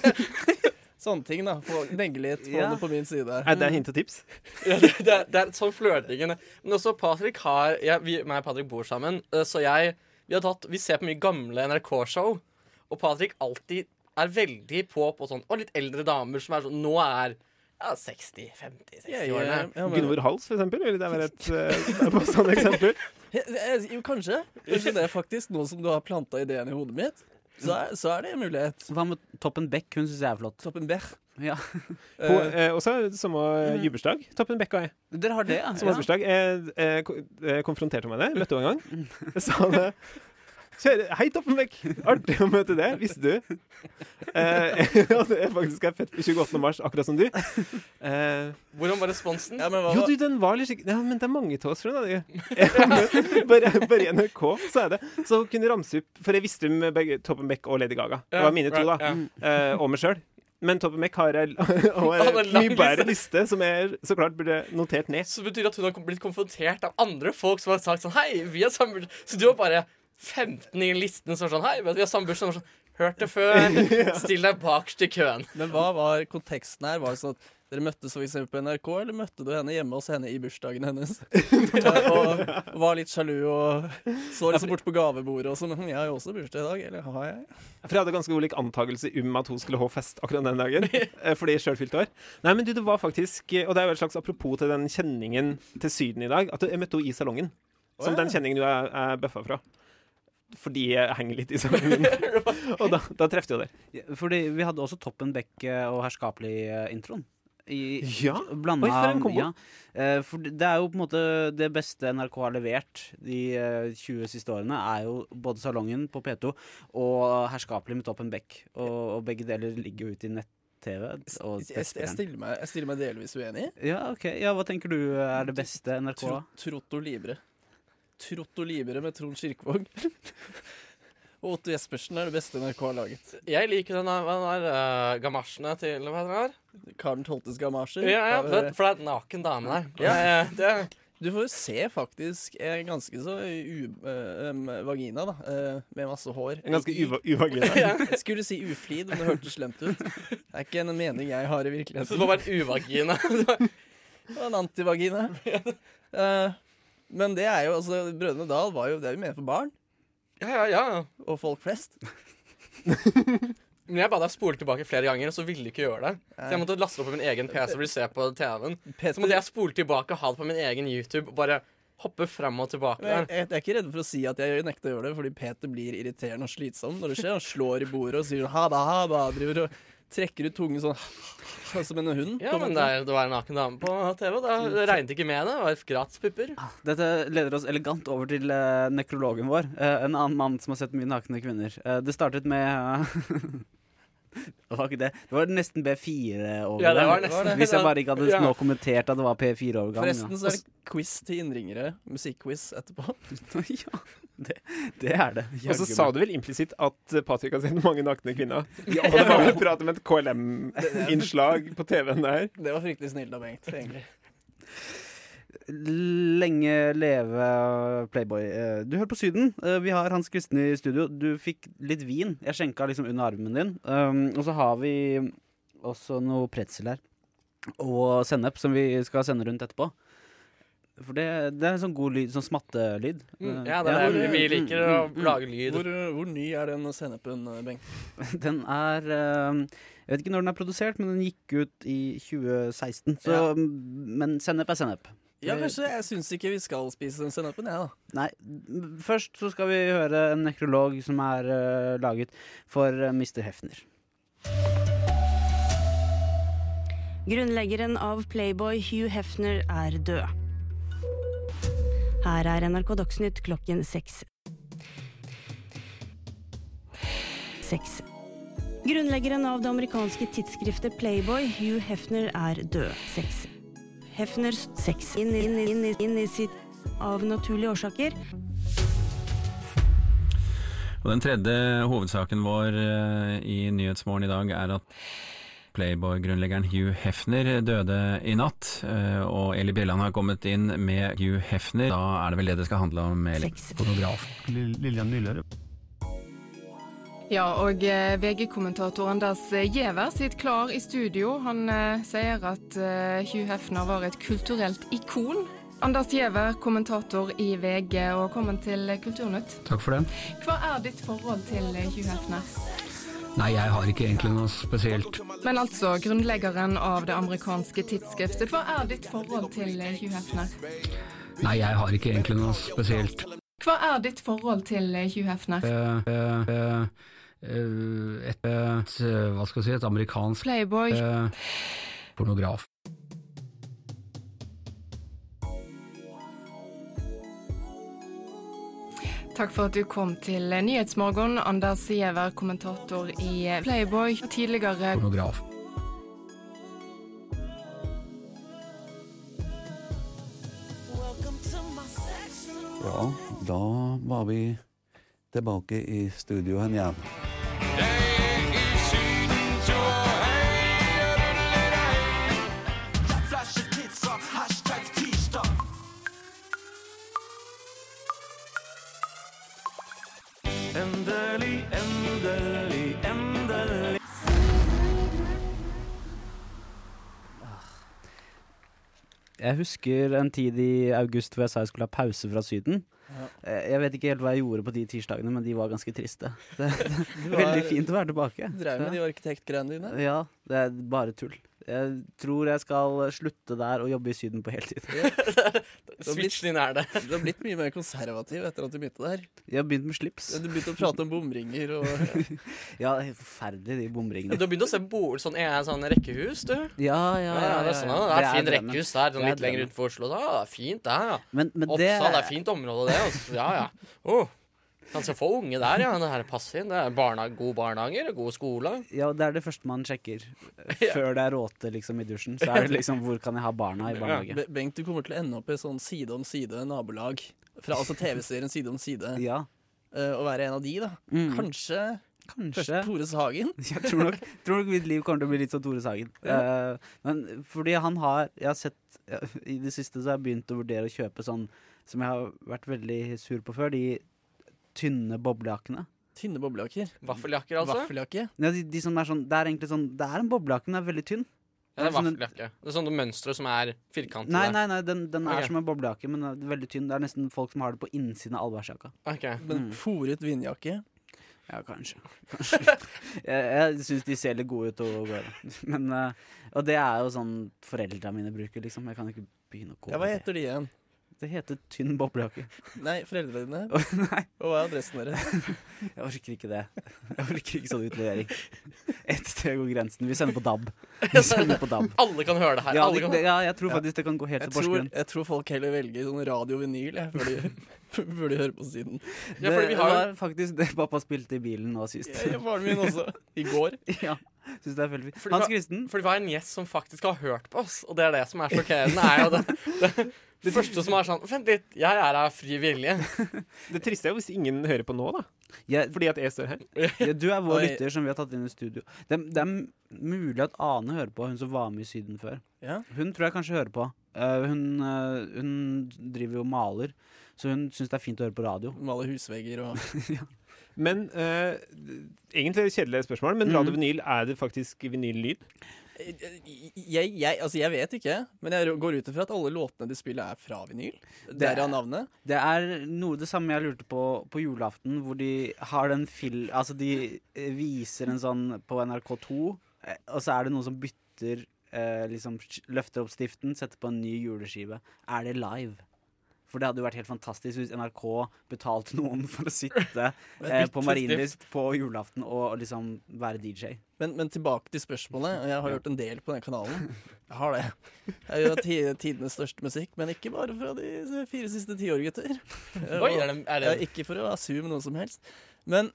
Speaker 7: Sånne ting, da. Få legge litt, få
Speaker 6: Ja.
Speaker 7: det på min side.
Speaker 9: Er det hint og tips?
Speaker 8: Ja, det, det, er, det er sånn flørtingen er. Men også Patrick har jeg, vi, meg og Patrick bor sammen, eh, så jeg Vi, har tatt, vi ser på mye gamle NRK-show, og Patrick alltid er veldig på på sånn Og litt eldre damer som er sånn Nå er ja,
Speaker 7: Jeg-
Speaker 8: 60-50-60-årene.
Speaker 7: jeg-
Speaker 9: Gunvor Hals, for eksempel? Vil det være et eh, bare sånn eksempel?
Speaker 7: jeg- jeg- Jo, kanskje. Kanskje det er faktisk, nå som du har planta ideen i hodet mitt, så er, så er det en mulighet.
Speaker 6: Hva med Toppen Beck? Hun syns jeg er flott.
Speaker 7: Toppen Berg.
Speaker 6: Ja.
Speaker 9: På, eh, også samme
Speaker 7: Mhm.
Speaker 9: eh, jubileumsdag. Toppen Bekka og jeg.
Speaker 6: Dere har det, ja.
Speaker 9: eh, Som har bursdag. Jeg, eh, ko- eh, konfronterte hun meg med det. Møtte henne en gang. Jeg sa det. Kjære, hei, Toppmekk! Artig å møte deg. Visste du? Eh, at jeg faktisk er født på 28. mars, akkurat som du. Eh,
Speaker 8: Hvordan var responsen? Ja,
Speaker 9: jo, du, den var litt skikk- ja, Men det er mange av oss, skjønner du. bare, bare i NRK, så er det. Så hun kunne ramse opp For jeg visste om begge Toppen Beck og Lady Gaga. Det
Speaker 8: Ja,
Speaker 9: var mine to, da.
Speaker 8: right, ja.
Speaker 9: Eh, og meg sjøl. Men Toppen Beck har en
Speaker 8: Han har en lang
Speaker 9: mye bedre liste, som jeg så klart burde notert ned.
Speaker 8: Så betyr det at hun har kom- blitt konfrontert av andre folk som har sagt sånn Hei, vi har samme bursdag. Så du var bare 15 i listen som var sånn Hei, vi har samme bursdag. Som var sånn, Hørt det før. Still deg bakerst i køen.
Speaker 7: Men hva var konteksten her? Var det sånn at dere møttes for eksempel på NRK, eller møtte du henne hjemme hos henne i bursdagen hennes? og var litt sjalu og så liksom bort på gavebordet og sånn. Men jeg har jo også bursdag i dag. Eller har jeg?
Speaker 9: For jeg hadde ganske ulik antakelse om at hun skulle ha fest akkurat den dagen. eh, Fordi jeg sjøl fylte år. Nei, men du, det var faktisk eh, Og det er jo et slags apropos til den kjenningen til Syden i dag. At jeg møtte henne i salongen. Som
Speaker 8: Å, ja.
Speaker 9: den kjenningen du er, er bøffa fra. Fordi jeg henger litt i salongen. og da, da treffer du der.
Speaker 6: Ja, Fordi vi hadde også Toppen Bekke og eh, Herskapelig-introen.
Speaker 9: Ja? Oi, for en kombo.
Speaker 6: Eh, For det er jo på en måte det beste NRK har levert de eh, 20 siste årene, er jo både Salongen på P2 og Herskapelig med Toppen Beck. Og, og begge deler ligger jo ute i nett-TV. Og
Speaker 7: Jeg, jeg,
Speaker 6: nettspilleren.
Speaker 7: stiller meg, jeg stiller meg delvis uenig.
Speaker 6: Ja, ok. Ja, hhva tenker du eh, er det beste NRK?
Speaker 7: Tro, trotto Libre. Trotto Libre med Trond Kirkevåg. Og Otto Jespersen er det beste NRK har laget.
Speaker 8: Jeg liker den der, den der eh, gamasjene til Hva heter den her?
Speaker 7: Karen Toltes gamasjer. eh,
Speaker 8: Ja, ja, det, for det er en naken dame der. Ja, ja, det er
Speaker 7: Du får jo se faktisk en ganske så u, eh, em, vagina, da. eh, med masse hår.
Speaker 9: En ganske
Speaker 7: I-
Speaker 9: uva- uvagina.
Speaker 7: Ja, jeg skulle si uflid, men det hørtes slemt ut. Det er ikke en mening jeg har i virkeligheten.
Speaker 8: Så det må være en uvagina.
Speaker 7: Og en antivagina. Eh, men det er jo altså Brødrene Dal var jo det er jo ment for barn.
Speaker 8: Ja, ja, ja.
Speaker 7: Og folk flest.
Speaker 8: Men jeg ba deg spole tilbake flere ganger, og så ville du ikke gjøre det. Så jeg måtte laste det opp på min egen PC og bli se på TV-en. Så måtte jeg spole tilbake og ha det på min egen YouTube. og Bare hoppe frem og tilbake
Speaker 7: Men Jeg,
Speaker 8: der.
Speaker 7: jeg, jeg er ikke redd for å si at jeg nekter å gjøre det, fordi Peter blir irriterende og slitsom når det skjer. Han slår i bordet og sier sånn, ha da, ha da, driver og trekker ut tungen sånn som en hund.
Speaker 8: Ja, men det, er- det var en naken dame på TV, og da regnet ikke med det. Det var gratis pupper.
Speaker 6: Dette leder oss elegant over til eh, nekrologen vår. eh, en annen mann som har sett mye nakne kvinner. Eh, det startet med eh, Det var ikke det. Det var nesten B4 over
Speaker 7: Ja, det
Speaker 6: den.
Speaker 7: var nesten- Det var det.
Speaker 6: Hvis jeg bare ikke hadde
Speaker 7: Ja.
Speaker 6: nå kommentert at det var P4-overgang.
Speaker 7: Forresten så er det quiz til innringere, musikkquiz etterpå.
Speaker 6: ja, det, det er det.
Speaker 9: Og så
Speaker 6: Jørgen.
Speaker 9: sa du vel implisitt at eh, Patrick har sett mange nakne kvinner. Og det var vel prat om et KLM-innslag på TV-en der.
Speaker 7: Det var fryktelig snilt av Bengt, egentlig.
Speaker 6: Lenge leve Playboy. Eh, Du hører på Syden. Eh, Vi har Hans Kristen i studio. Du fikk litt vin. Jeg skjenka liksom under armen din. Um, Og så har vi også noe pretzel her. Og sennep, som vi skal sende rundt etterpå. For det, det er en sånn god lyd, sånn smattelyd.
Speaker 8: Mm,
Speaker 6: Eh,
Speaker 8: ja, det er det vi- vi liker, å lage lyd.
Speaker 7: Hvor, hvor ny er den sennepen, Bengt?
Speaker 6: Den er eh, Jeg vet ikke når den er produsert, men den gikk ut i 2016. Så,
Speaker 7: Ja.
Speaker 6: Men sennep er sennep.
Speaker 7: Ja, kanskje jeg syns ikke vi skal spise den sennepen, jeg, da.
Speaker 6: Nei, m- først så skal vi høre en nekrolog som er eh, laget for eh, Mr. Hefner.
Speaker 12: Grunnleggeren av Playboy, Hugh Hefner, er død. Her er NRK Dagsnytt klokken seks. Seks. Grunnleggeren av det amerikanske tidsskriftet Playboy, Hugh Hefner, er død. Seks. Hefner s- seks. Inn, i- inn, i- inn, i- inn i sitt av naturlige årsaker.
Speaker 13: Og den tredje hovedsaken vår eh, i Nyhetsmorgen i dag er at Playboy-grunnleggeren Hugh Hefner døde i natt, eh, og Eli Bjelland har kommet inn med Hugh Hefner. Da er det vel det det skal handle om, Eli. Fotograf. Lillian Müller.
Speaker 14: Ja, og eh, VG-kommentator Anders Giæver sitter klar i studio. Han eh, sier at eh, Hugh Hefner var et kulturelt ikon. Anders Giæver, kommentator i VG, og velkommen til Kulturnytt.
Speaker 15: Takk for den.
Speaker 14: Hva er ditt forhold til eh, Hugh Hefner?
Speaker 15: Nei, jeg har ikke egentlig noe spesielt.
Speaker 14: Men altså, grunnleggeren av det amerikanske tidsskriftet, hva er ditt forhold til eh, Hugh Hefner?
Speaker 15: Nei, jeg har ikke egentlig noe spesielt.
Speaker 14: Hva er ditt forhold til eh, Hugh Hefner?
Speaker 15: Eh, eh, eh, eh, et, et, eh, hva skal jeg si, et amerikansk
Speaker 14: Playboy.
Speaker 15: eh, pornograf.
Speaker 14: Takk for at du kom til Nyhetsmorgen, Anders Giæver, kommentator i Playboy, og tidligere
Speaker 15: Pornograf.
Speaker 16: Ja, da var vi tilbake i studio igjen. Ja.
Speaker 10: Endelig, endelig, endelig.
Speaker 6: Jeg husker en tid i august hvor jeg sa jeg skulle ha pause fra Syden. Eh, Jeg vet ikke helt hva jeg gjorde på de tirsdagene, men de var ganske triste. Det, det,
Speaker 7: Du
Speaker 6: var, veldig
Speaker 7: var-
Speaker 6: fint å være tilbake.
Speaker 7: Drev med de arkitektgreiene dine.
Speaker 6: Ja, det er bare tull. Jeg tror jeg skal slutte der og jobbe i Syden på heltid.
Speaker 7: Switchen din er det. Du har blitt mye mer konservativ etter at du begynte der.
Speaker 6: Jeg har begynt med slips.
Speaker 7: Du begynte å prate om bomringer og
Speaker 6: Ja, det er helt forferdelig, de bomringene.
Speaker 8: Du har begynt å se bol sånn, eh, sånn rekkehus, du.
Speaker 6: Ja, ja, ja,
Speaker 8: det er
Speaker 6: ja,
Speaker 8: sånn,
Speaker 6: ja.
Speaker 8: ah, det er,
Speaker 6: Det er
Speaker 8: fint
Speaker 6: drømmen.
Speaker 8: rekkehus der,
Speaker 6: Det
Speaker 8: sånn
Speaker 6: er
Speaker 8: litt lenger
Speaker 6: drømmen.
Speaker 8: utenfor Oslo. Ah, fint der, ja.
Speaker 6: Men- men
Speaker 8: Oppsal,
Speaker 6: det-
Speaker 8: det er... fint område, det. altså. Ja, ja. Oh, ganske få unge der, ja. Det her passer inn. Det er barnehage, god barnehager, god skole.
Speaker 6: Ja, det er det første man sjekker. eh, Før det er råte liksom, i dusjen, så er det liksom hvor kan jeg ha barna i barnehage?
Speaker 7: Be- Bengt, du kommer til å ende opp i sånn side om side nabolag. Fra altså TV-serien Side om side.
Speaker 6: Ja.
Speaker 7: og være en av de, da.
Speaker 6: Mm.
Speaker 7: Kanskje Kanskje Tore Sagen?
Speaker 6: Jeg tror nok, tror nok mitt liv kommer til å bli litt som Tore Sagen.
Speaker 7: Ja.
Speaker 6: Eh, men fordi han har Jeg har sett ja, I det siste så har jeg begynt å vurdere å kjøpe sånn som jeg har vært veldig sur på før, de tynne boblejakkene.
Speaker 7: Tynne boblejakker.
Speaker 8: Vaffeljakker, altså.
Speaker 7: Vaffeljakke.
Speaker 6: Ja, de, de som er sånn Det er egentlig sånn Det er en boblejakke, men den er veldig tynn.
Speaker 8: Ja, det er
Speaker 6: sånn en-
Speaker 8: vaffeljakke. Det er sånn mønster som er firkantet.
Speaker 6: Nei,
Speaker 8: der.
Speaker 6: nei, nei, den, den
Speaker 8: Ok.
Speaker 6: er som en boblejakke, men den er veldig tynn. Det er nesten folk som har det på innsiden av allværsjakka.
Speaker 8: Ok.
Speaker 6: Mm.
Speaker 7: Men fòret vindjakke?
Speaker 6: Ja, kanskje. kanskje. jeg jeg syns de ser litt gode ut å gå i. Men, eh, Og det er jo sånn foreldra mine bruker, liksom. Jeg kan ikke begynne å gå
Speaker 7: Ja, hva
Speaker 6: i det.
Speaker 7: heter de igjen?
Speaker 6: Det heter tynn boblejakke.
Speaker 7: Nei, foreldrene dine. Og hva er adressen deres?
Speaker 6: Jeg orker ikke det. Jeg orker ikke sånn utlevering. Ett sted går grensen. Vi sender på DAB. Vi sender på DAB.
Speaker 8: Alle kan høre det her.
Speaker 6: Ja,
Speaker 8: Alle
Speaker 6: det-
Speaker 8: kan-
Speaker 6: det- ja jeg tror faktisk det kan gå helt
Speaker 7: Jeg
Speaker 6: til Porsgrunn.
Speaker 7: tror- Jeg tror folk heller velger sånn radiovinyl jeg, før, de, før de hører på siden.
Speaker 6: Det var faktisk det pappa spilte i bilen nå sist.
Speaker 7: Ja, ja, faren min også. I går.
Speaker 6: ja. Synes det er veldig fint.
Speaker 8: Fordi
Speaker 6: Hans
Speaker 8: vi har-
Speaker 6: Kristen.
Speaker 8: Fordi vi har en gjest som faktisk har hørt på oss, og det er det som er sjokkerende. er jo det, det, det første som er sånn Vent litt, jeg er av fri vilje.
Speaker 9: Det triste er jo hvis ingen hører på nå, da. Fordi at jeg står her.
Speaker 6: Ja, du er
Speaker 9: Oi.
Speaker 6: vår lytter som vi har tatt inn i studio. Det, det er m- mulig at Ane hører på, hun som var med i Syden før.
Speaker 7: Ja.
Speaker 6: Hun tror jeg kanskje hører på. Eh, hun, eh, hun driver jo og maler, så hun syns det er fint å høre på radio.
Speaker 7: Maler husvegger og
Speaker 9: Men eh, egentlig er det kjedelige spørsmål, men
Speaker 13: Mm.
Speaker 6: Mhm.
Speaker 9: radiovinyl, er det faktisk vinyllyd?
Speaker 7: jeg, jeg, altså jeg vet ikke, men jeg går ut ifra at alle låtene de spiller, er fra vinyl. Derav navnet.
Speaker 6: Det er noe det samme jeg lurte på på julaften, hvor de har den fil... Altså, de eh, viser en sånn på NRK2, eh, og så er det noen som bytter eh, Liksom sk- løfter opp stiften, setter på en ny juleskive. Er det live? For det hadde jo vært helt fantastisk hvis NRK betalte noen for å sitte eh,
Speaker 7: Bytte
Speaker 6: på Marienlyst på julaften og, og liksom være DJ.
Speaker 7: Men, men tilbake til spørsmålet. og Jeg har hørt en del på den kanalen. Jeg har det. Jeg er jo ti- tidenes største musikk, men ikke bare fra de fire siste tiår, gutter.
Speaker 8: Oi, er det- er det-
Speaker 7: Ja, Ikke for å assume noe som helst. Men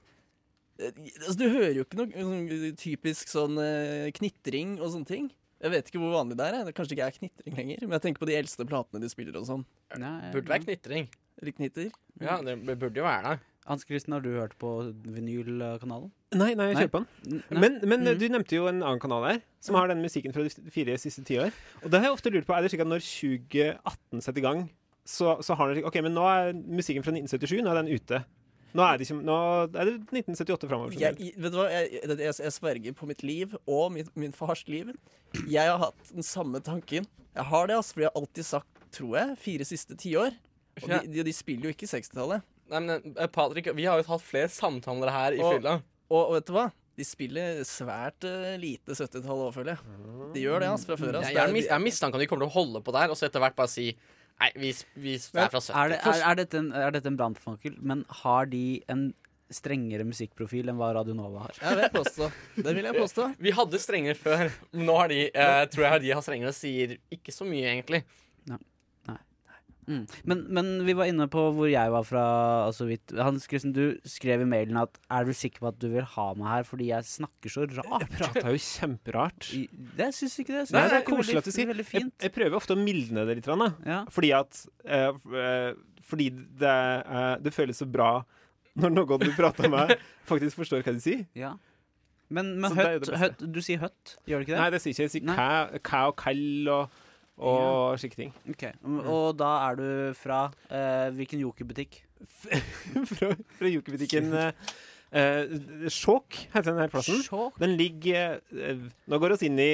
Speaker 7: eh, altså, du hører jo ikke noe sånn typisk sånn eh, knitring og sånne ting. Jeg vet ikke hvor vanlig det er. jeg. Det kanskje ikke er knitring lenger. Men jeg tenker på de eldste platene de spiller og sånn.
Speaker 8: Burde være knitring.
Speaker 7: Eller knitter.
Speaker 8: Ja, det burde jo være det.
Speaker 6: Hans Kristen, har du hørt på eh, vinylkanalen?
Speaker 9: Nei, nei, Mm. jeg kjører på den.
Speaker 6: Nei.
Speaker 9: Men, men
Speaker 6: Mhm.
Speaker 9: du nevnte jo en annen kanal her, som har den musikken fra de f- fire siste tiår. Og det har jeg ofte lurt på, er det slik at når 2018 setter i gang, så, så har den slik Ok, men nå er musikken fra 1977, nå er den ute. Nå er det, ikke, nå er det 1978 framover.
Speaker 7: jeg, i- vet du hva, jeg, jeg, jeg, jeg sverger på mitt liv og min, min fars liv. Jeg har hatt den samme tanken. Jeg har det, altså, for jeg har alltid sagt, tror jeg, fire siste tiår. Og de, de, de spiller jo ikke 60-tallet.
Speaker 8: Nei, men eh, Patrick, vi har jo hatt flere samtaler her i
Speaker 7: Og-
Speaker 8: fylla.
Speaker 7: Og, og vet du hva? De spiller svært eh, lite 70-tall òg, føler jeg. De gjør det, altså, fra før av.
Speaker 8: Jeg, jeg, mis- jeg mistenker at de kommer til å holde på der, og så etter hvert bare si Nei, vi, vi er fra 70.
Speaker 6: Er, det, er, er dette en, er dette en brannfakkel? Men har de en strengere musikkprofil enn hva Radio Nova har?
Speaker 7: Jeg vil påstå. Det vil jeg påstå.
Speaker 8: Vi hadde strengere før. Nå har de, eh, tror jeg de har strengere og sier ikke så mye, egentlig.
Speaker 6: Nei. Mm. Men, men vi var inne på hvor jeg var fra. Altså, vidt. Hans Christian, du skrev i mailen at er du sikker på at du vil ha meg her fordi jeg snakker så rart? Jeg
Speaker 9: prata jo kjemperart.
Speaker 6: Det syns ikke det.
Speaker 9: Nei, det er
Speaker 6: ikke
Speaker 9: koselig at du
Speaker 6: veldig-
Speaker 9: sier.
Speaker 6: veldig
Speaker 9: Jeg, jeg prøver ofte å mildne det litt. Rann, da. Fordi at eh, f- eh, Fordi det, eh, det føles så bra når noen du prater med, faktisk forstår hva de sier.
Speaker 6: Ja. Men, men
Speaker 9: Så det er jo
Speaker 6: høtt,
Speaker 9: det beste.
Speaker 6: høtt, du sier høtt, gjør du ikke det?
Speaker 9: Nei, det sier ikke Jeg sier
Speaker 6: Nei.
Speaker 9: kæ, kæ og kall og, og slike ting.
Speaker 6: Ok, Um, Og da er du fra eh, hvilken jokerbutikk?
Speaker 9: fra, fra jokebutikken eh, eh, Skjåk heter den her plassen. Den ligger eh, Nå går vi inn i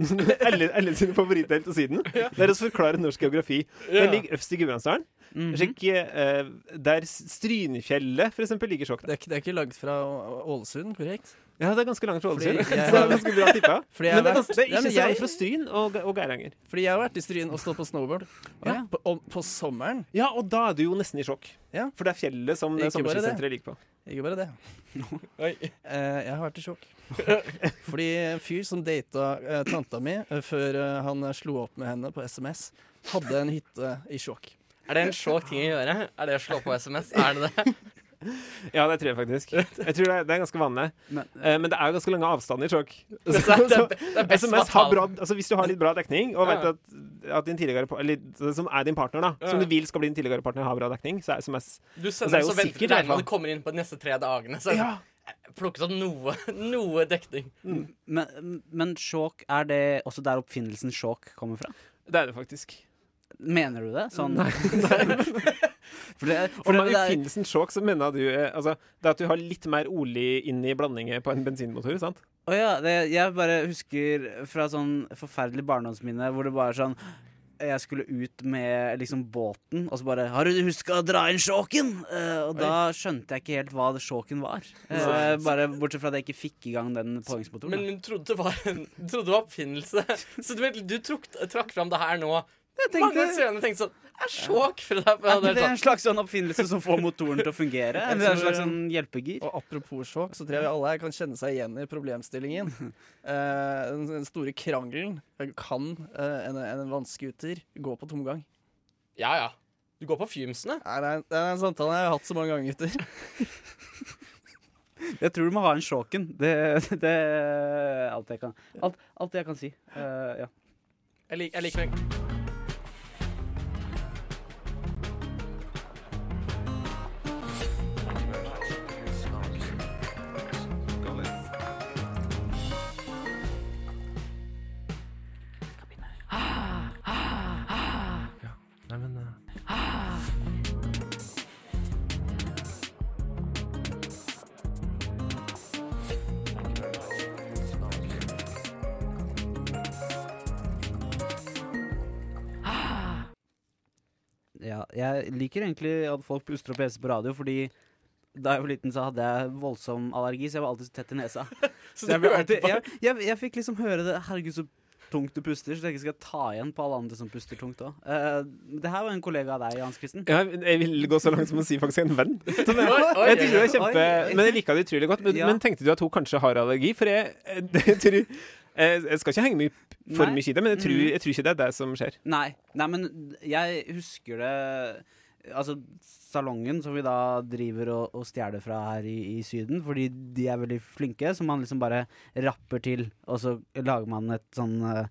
Speaker 9: alle, alle sine favorittdelt på siden. Der vi forklarer norsk geografi. Den
Speaker 10: Ja.
Speaker 9: ligger øverst i Gudbrandsdalen.
Speaker 7: Mhm.
Speaker 9: Sjekk, eh, Der Strynefjellet, for eksempel, ligger Skjåk.
Speaker 7: Det er, ikke- det er ikke langt fra Å- Ålesund, korrekt?
Speaker 9: Ja, det er ganske langt fra
Speaker 7: Fordi
Speaker 9: Ålesund. Så
Speaker 7: jeg-
Speaker 9: det er ganske bra tippa.
Speaker 7: Fordi jeg
Speaker 9: Men det er,
Speaker 7: har
Speaker 9: ganske, det
Speaker 7: vært-
Speaker 9: er
Speaker 7: Ja,
Speaker 9: ikke
Speaker 7: men
Speaker 9: så
Speaker 7: jeg-
Speaker 9: langt fra Stryn og, og Geiranger.
Speaker 7: Fordi jeg har vært i Stryn og stått på snowboard.
Speaker 9: Ja.
Speaker 7: På, om, på sommeren.
Speaker 9: Ja, og da er du jo nesten i sjokk. For det er fjellet som eh,
Speaker 7: Ikke bare det.
Speaker 9: sommerskisenteret ligger på.
Speaker 7: Ikke bare det. Eh, jeg har vært i sjokk. Fordi en fyr som data eh, tanta mi eh, før eh, han slo opp med henne på SMS, hadde en hytte i sjokk.
Speaker 8: Er det en sjåk ting å gjøre? Er det å slå på SMS? Er det det?
Speaker 9: Ja, det tror jeg faktisk. Jeg tror det er, det er ganske vanlig. Eh,
Speaker 6: Men,
Speaker 9: men det er jo ganske lange avstander i sjokk.
Speaker 8: Det er- det er- det er best
Speaker 9: SMS har
Speaker 8: fatal.
Speaker 9: bra, altså hvis du har litt bra dekning, og
Speaker 8: Ja.
Speaker 9: vet at, at din tidligere par- Eller det som er din partner, da. Som
Speaker 8: Ja.
Speaker 9: du vil skal bli din tidligere partner, har bra dekning, så er SMS
Speaker 8: Du
Speaker 9: Og det
Speaker 8: sender
Speaker 9: er jo
Speaker 8: så venter
Speaker 9: sikkert,
Speaker 8: du regner
Speaker 9: i hvert
Speaker 8: med du kommer inn på de neste tre dagene. Så
Speaker 9: Ja.
Speaker 8: jeg plukket eh, opp noe, noe dekning.
Speaker 6: Men, men sjåk, er det også der oppfinnelsen sjåk kommer fra?
Speaker 9: Det er det faktisk.
Speaker 6: Mener du det? Sånn
Speaker 9: Nei.
Speaker 6: For det- for
Speaker 9: Og med
Speaker 6: det- det er-
Speaker 9: oppfinnelsen sjokk, så mener du eh, altså, Det er at du har litt mer olje inn i blandingen på en bensinmotor, sant?
Speaker 6: Å ja, det, jeg bare husker fra sånn forferdelig barndomsminne hvor det bare er sånn Jeg skulle ut med liksom båten, og så bare 'Har du huska å dra inn sjåken?' Eh, og da skjønte jeg ikke helt hva det sjåken var. Eh,
Speaker 8: Nei.
Speaker 6: bare Bortsett fra at jeg ikke fikk i gang den påhengsmotoren.
Speaker 8: Men hun trodde det var en du trodde det var oppfinnelse. Så du, vet, du trukk- trakk fram det her nå.
Speaker 6: tenkte-
Speaker 8: Mange år senere tenkte sånn Jeg er sjokk fra deg.
Speaker 6: Er ikke det en slags sånn oppfinnelse som får motoren til å fungere?
Speaker 7: Jeg
Speaker 6: Eller en
Speaker 7: tror-
Speaker 6: slags sånn hjelpegir?
Speaker 7: Og apropos sjokk, så tror jeg vi alle her kan kjenne seg igjen i problemstillingen. Eh, den, den store krangelen. Kan eh, en, en vannskuter gå på tomgang?
Speaker 8: Ja ja. Du går på fymsene.
Speaker 7: Nei, det er, det er en samtale jeg har hatt så mange ganger, gutter.
Speaker 6: Jeg tror du må ha en sjåken. Det, det er alt jeg kan. Alt, alt jeg kan si. Eh, ja.
Speaker 8: Jeg, lik, jeg liker meg.
Speaker 10: Nei, men
Speaker 6: Ja, jeg liker egentlig at folk puster og peser på radio, fordi da jeg var liten, så hadde jeg voldsom allergi, så jeg var alltid så tett i nesa.
Speaker 8: Så
Speaker 6: jeg,
Speaker 8: du
Speaker 6: ble
Speaker 8: hørte
Speaker 6: alltid,
Speaker 8: bare-
Speaker 6: jeg, jeg, jeg fikk liksom høre det Herregud, så tungt du puster, så tenker jeg skal jeg ta igjen på alle andre som puster tungt òg. det her var en kollega av deg, Hans Kristen.
Speaker 9: Ja, jeg vil gå så langt som å si faktisk en venn. Sånn, jeg,
Speaker 6: Oi, oi,
Speaker 9: jeg tror det er kjempe
Speaker 6: oi.
Speaker 9: Men jeg liker det utrolig godt. Men,
Speaker 6: Ja.
Speaker 9: men tenkte du at hun kanskje har allergi? For jeg, jeg tror jeg, jeg skal ikke henge mye for
Speaker 6: Nei.
Speaker 9: mye i det, men jeg tror,
Speaker 6: Mhm.
Speaker 9: jeg tror ikke det er det som skjer.
Speaker 6: Nei, nei, men jeg husker det Altså, salongen som vi da driver og, og stjeler fra her i, i Syden, fordi de er veldig flinke, så man liksom bare rapper til, og så lager man et sånn eh,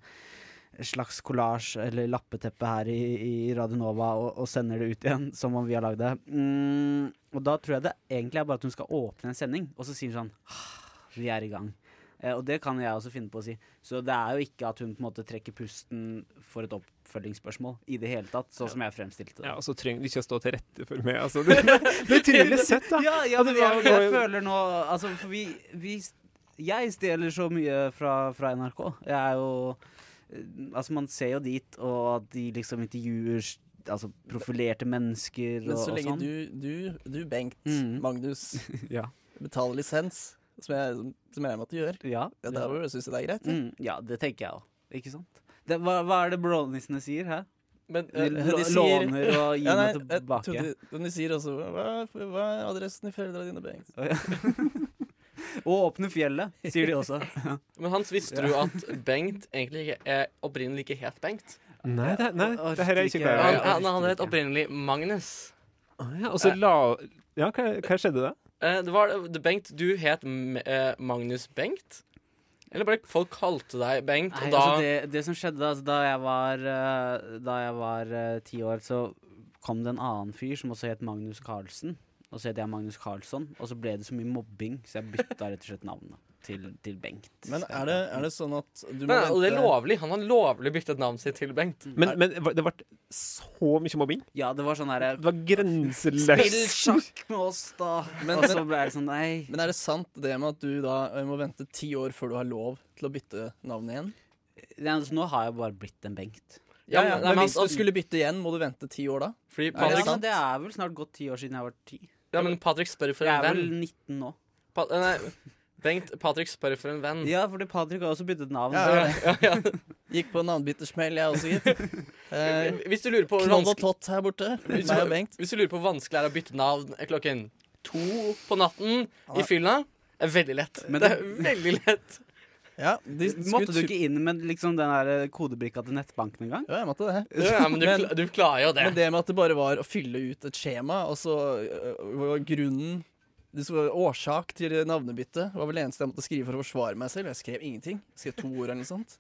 Speaker 6: slags kollasj eller lappeteppe her i, i Radio Nova og, og sender det ut igjen, som om vi har lagd det. Mm, og da tror jeg det egentlig er bare at hun skal åpne en sending, og så sier hun sånn «Ah, Vi er i gang. Eh, Og det kan jeg også finne på å si. Så det er jo ikke at hun på en måte trekker pusten for et oppfølgingsspørsmål i det hele tatt, sånn som jeg fremstilte det.
Speaker 9: Ja, og så trenger de ikke å stå til rette for meg. Altså, det, det er utrolig søtt, da.
Speaker 6: Ja, ja
Speaker 9: Og
Speaker 6: men
Speaker 9: det var-
Speaker 6: jeg, jeg føler nå Altså, for vi, vi Jeg stjeler så mye fra, fra NRK. Jeg er jo eh, Altså, man ser jo dit, og at de liksom intervjuer s- Altså profilerte mennesker og,
Speaker 7: Men så lenge
Speaker 6: og sånn.
Speaker 7: du, du, du Bengt,
Speaker 6: Mm.
Speaker 7: Magnus,
Speaker 6: Ja.
Speaker 7: betaler lisens, som jeg, som jeg er med at du gjør,
Speaker 6: ja,
Speaker 7: ja, da syns jeg det er greit. ja.
Speaker 6: Mm, ja, det tenker jeg òg. Ikke sant? Det, hva, hva er det brownisene sier her?
Speaker 8: Men,
Speaker 6: de,
Speaker 7: Eh,
Speaker 6: lå- låner og gir
Speaker 7: Ja, nei, eh,
Speaker 6: meg
Speaker 7: jeg
Speaker 6: tilbake.
Speaker 7: trodde- Men de sier også hva, hva er adressen i foreldra dine, Bengt?
Speaker 6: Å, ja. Og åpne fjellet, sier de også.
Speaker 8: Men Hans, visste
Speaker 6: Ja.
Speaker 8: du at Bengt egentlig ikke, eh, opprinnelig ikke het Bengt?
Speaker 9: Nei, det, nei,
Speaker 8: Jeg
Speaker 9: det her er jeg
Speaker 8: orker
Speaker 9: ikke klar over.
Speaker 8: Han, han het opprinnelig Magnus.
Speaker 9: Ja, og så la Ja, hva, hva skjedde da?
Speaker 8: Eh, det var, det- Bengt, du het M- eh, Magnus Bengt? Eller bare folk kalte deg Bengt,
Speaker 6: Nei,
Speaker 8: og da
Speaker 6: altså det, det som skjedde altså, da jeg var eh, Da jeg var eh, ti år, så kom det en annen fyr som også het Magnus Carlsen. Og så het jeg Magnus Carlsson, og så ble det så mye mobbing, så jeg bytta rett og slett navnet til, til Bengt.
Speaker 7: Men er det, er det sånn at du må
Speaker 8: Nei, og det er
Speaker 7: vente-
Speaker 8: lovlig. Han har lovlig byttet navnet sitt til Bengt.
Speaker 6: Mm.
Speaker 9: Men, men det ble så mye mobbing?
Speaker 6: Ja, det var sånn herre
Speaker 9: Det var grenseløst.
Speaker 6: med oss, da!
Speaker 7: Men,
Speaker 6: Og så ble det sånn, nei.
Speaker 7: Men er det sant det med at du da eh, må vente ti år før du har lov til å bytte navn igjen?
Speaker 6: Nei, altså, nå har jeg bare blitt en Bengt.
Speaker 7: Ja, ja, men hvis
Speaker 6: han-
Speaker 7: du skulle bytte igjen, må du vente ti år da?
Speaker 8: Fordi
Speaker 6: Nei,
Speaker 8: Patrick-
Speaker 6: altså, det er vel snart gått ti år siden jeg var ti.
Speaker 8: Ja, men Patrick spør for
Speaker 6: Jeg
Speaker 8: en
Speaker 6: er vel
Speaker 8: venn.
Speaker 6: 19 nå.
Speaker 8: Pa eh, nei, Bengt, Patrick spør for en venn.
Speaker 6: Ja, fordi Patrick har også byttet navn.
Speaker 8: Ja, ja, ja.
Speaker 7: Gikk på en navnbyttersmell, jeg også, gitt. Eh,
Speaker 8: Hvis du lurer på hvor
Speaker 7: Knoll og
Speaker 8: vanskelig-
Speaker 7: tott her borte.
Speaker 8: Hvis
Speaker 7: Meg og
Speaker 8: du,
Speaker 7: Bengt.
Speaker 8: hvis du lurer på hvor vanskelig det er å bytte navn klokken to på natten i fylla, er veldig lett. det er veldig lett.
Speaker 6: Måtte du ikke inn med liksom, den der kodebrikka til nettbanken engang?
Speaker 7: Ja, jeg måtte det.
Speaker 8: Ja, men du kla- du klarer jo det.
Speaker 7: Men det med at det bare var å fylle ut et skjema, og så øh, var grunnen det som var Årsak til navnebyttet var vel det eneste jeg måtte skrive for å forsvare meg selv. Jeg skrev ingenting. Jeg skrev to ord eller noe sånt.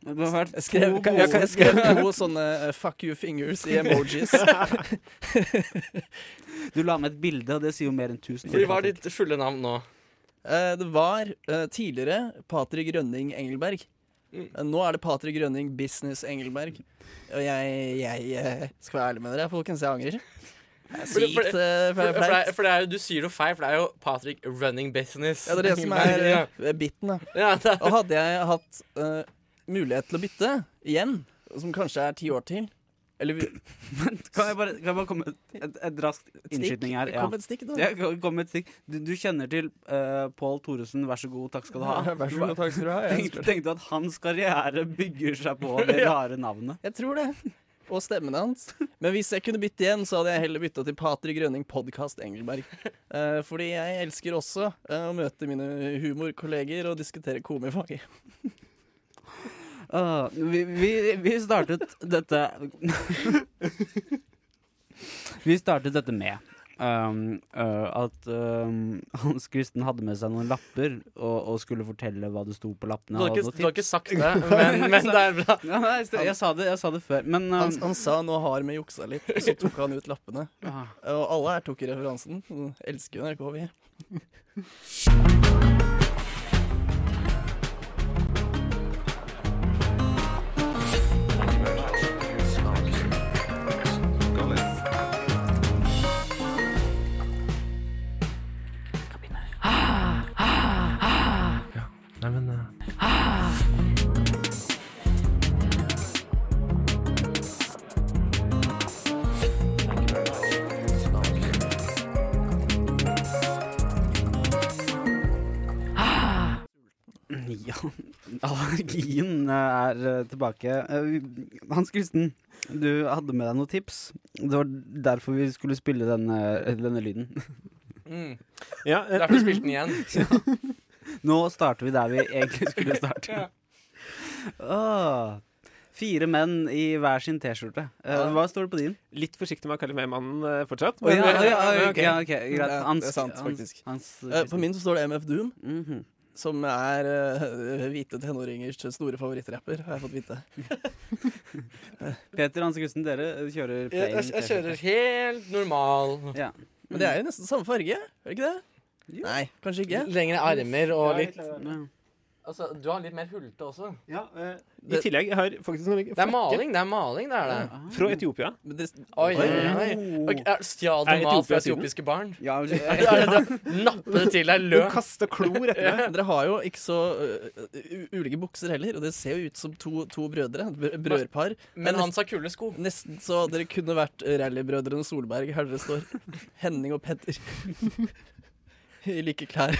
Speaker 7: Jeg skrev,
Speaker 6: to
Speaker 7: jeg,
Speaker 6: ord.
Speaker 7: jeg skrev to sånne eh, 'fuck you fingers' i emojis.
Speaker 6: Du la med et bilde, og det sier jo mer enn tusen
Speaker 8: Fordi hva er ditt fulle navn nå?
Speaker 7: Eh, det var eh, tidligere Patrik Rønning Engelberg.
Speaker 8: Mm.
Speaker 7: Eh, Nå er det Patrik Rønning Business Engelberg. Og jeg, jeg eh, skal være ærlig med dere, folkens. Jeg angrer. Det er
Speaker 8: For det- for
Speaker 7: Sykt
Speaker 8: det-
Speaker 7: eh,
Speaker 8: for- for det
Speaker 7: flaut.
Speaker 8: er- For det er jo, du sier noe feil, for det er jo Patrick running business.
Speaker 7: Ja, det er det som er
Speaker 8: Ja.
Speaker 7: eh, biten, da. Og hadde jeg hatt eh, mulighet til å bytte igjen, som kanskje er ti år til Eller vi-
Speaker 6: Kan jeg bare, kan jeg bare komme med et, et raskt
Speaker 7: stikk.
Speaker 6: innskyting her?
Speaker 7: Kom med et stikk, da.
Speaker 6: Ja, kom- kom med et stikk. Du, du kjenner til uh, Pål Thoresen, vær så god, takk skal du ha.
Speaker 7: Ja, vær så god, takk skal du ha, ja,
Speaker 6: Tenk-
Speaker 7: selvfølgelig.
Speaker 6: Tenkte du at hans karriere bygger seg på det
Speaker 7: Ja.
Speaker 6: rare navnet?
Speaker 7: Jeg tror det. Og stemmen hans. Men hvis jeg kunne bytte igjen, så hadde jeg heller bytta til Patrik Grønning Podkast Engelberg. Eh, fordi jeg elsker også eh, å møte mine humorkolleger og diskutere komifaget.
Speaker 6: Ah, vi, vi, vi startet dette Vi startet dette med um, øh, at um, Hans Kristen hadde med seg noen lapper og, og skulle fortelle hva det sto på
Speaker 8: Du
Speaker 6: lappene.
Speaker 8: har,
Speaker 6: og
Speaker 8: ikke,
Speaker 6: noe
Speaker 8: du har ikke
Speaker 6: tips.
Speaker 8: sagt det, men, men det er bra.
Speaker 6: Ja, nei, jeg, jeg, sa det, jeg sa det før, men um,
Speaker 7: Han, han sa 'nå har vi juksa litt', og så tok han ut lappene.
Speaker 6: Ja.
Speaker 7: Og alle her tok i referansen. Mm, Elsker jo NRK, vi.
Speaker 10: Nei, men
Speaker 6: um, Ja, allergien eh, er eh, tilbake. Eh, vi- Hans Kristen, du hadde med deg noen tips. Det var derfor vi skulle spille denne, denne lyden.
Speaker 8: Mm.
Speaker 9: Ja, eh,
Speaker 8: Derfor spilte den igjen.
Speaker 6: Nå starter vi der vi egentlig skulle
Speaker 8: Ja.
Speaker 6: starte. Åh, fire menn i hver sin T-skjorte. Eh,
Speaker 9: Ja.
Speaker 6: Hva står det på din?
Speaker 9: Litt forsiktig med å kalle meg mannen eh, fortsatt.
Speaker 6: Å, ja,
Speaker 9: men-
Speaker 6: å, ja, ja,
Speaker 9: men
Speaker 6: ok, ja, ok, greit.
Speaker 7: Det er-
Speaker 6: Hans-
Speaker 7: det er sant,
Speaker 6: Hans-
Speaker 7: faktisk.
Speaker 6: Hans- Mhm.
Speaker 7: Eh, på min så står det MF Doom, som er eh, hvite tenåringers store favorittrapper, har jeg fått vite.
Speaker 6: Peter Hans Kristen, dere eh, kjører plain
Speaker 8: Jeg, jeg
Speaker 6: T-skjorte.
Speaker 8: kjører helt normal.
Speaker 6: Ja.
Speaker 7: Men det er jo nesten samme farge, er det ikke det? Nei, kanskje ikke.
Speaker 8: Lengre armer og litt
Speaker 7: Altså,
Speaker 8: Du har litt mer hullete også.
Speaker 9: I tillegg jeg har faktisk noen
Speaker 8: Det er maling, det er maling, det er det.
Speaker 9: Fra Etiopia.
Speaker 8: Oi, oi, oi.
Speaker 6: Oh.
Speaker 8: Ok, er- Stjal du
Speaker 9: Er
Speaker 8: mat fra
Speaker 9: Etiopia syden?
Speaker 8: etiopiske barn?
Speaker 6: Ja,
Speaker 8: Er det- er det- Nappe det til deg løk?
Speaker 9: klor
Speaker 8: etter deg.
Speaker 7: Dere har jo ikke så øh, u- ulike bukser heller, og det ser jo ut som to, to brødre. br- Brødrepar.
Speaker 8: Men han sa kule sko.
Speaker 7: Nesten så dere kunne vært rallybrødrene Solberg her dere står. Henning og Petter. I like klær.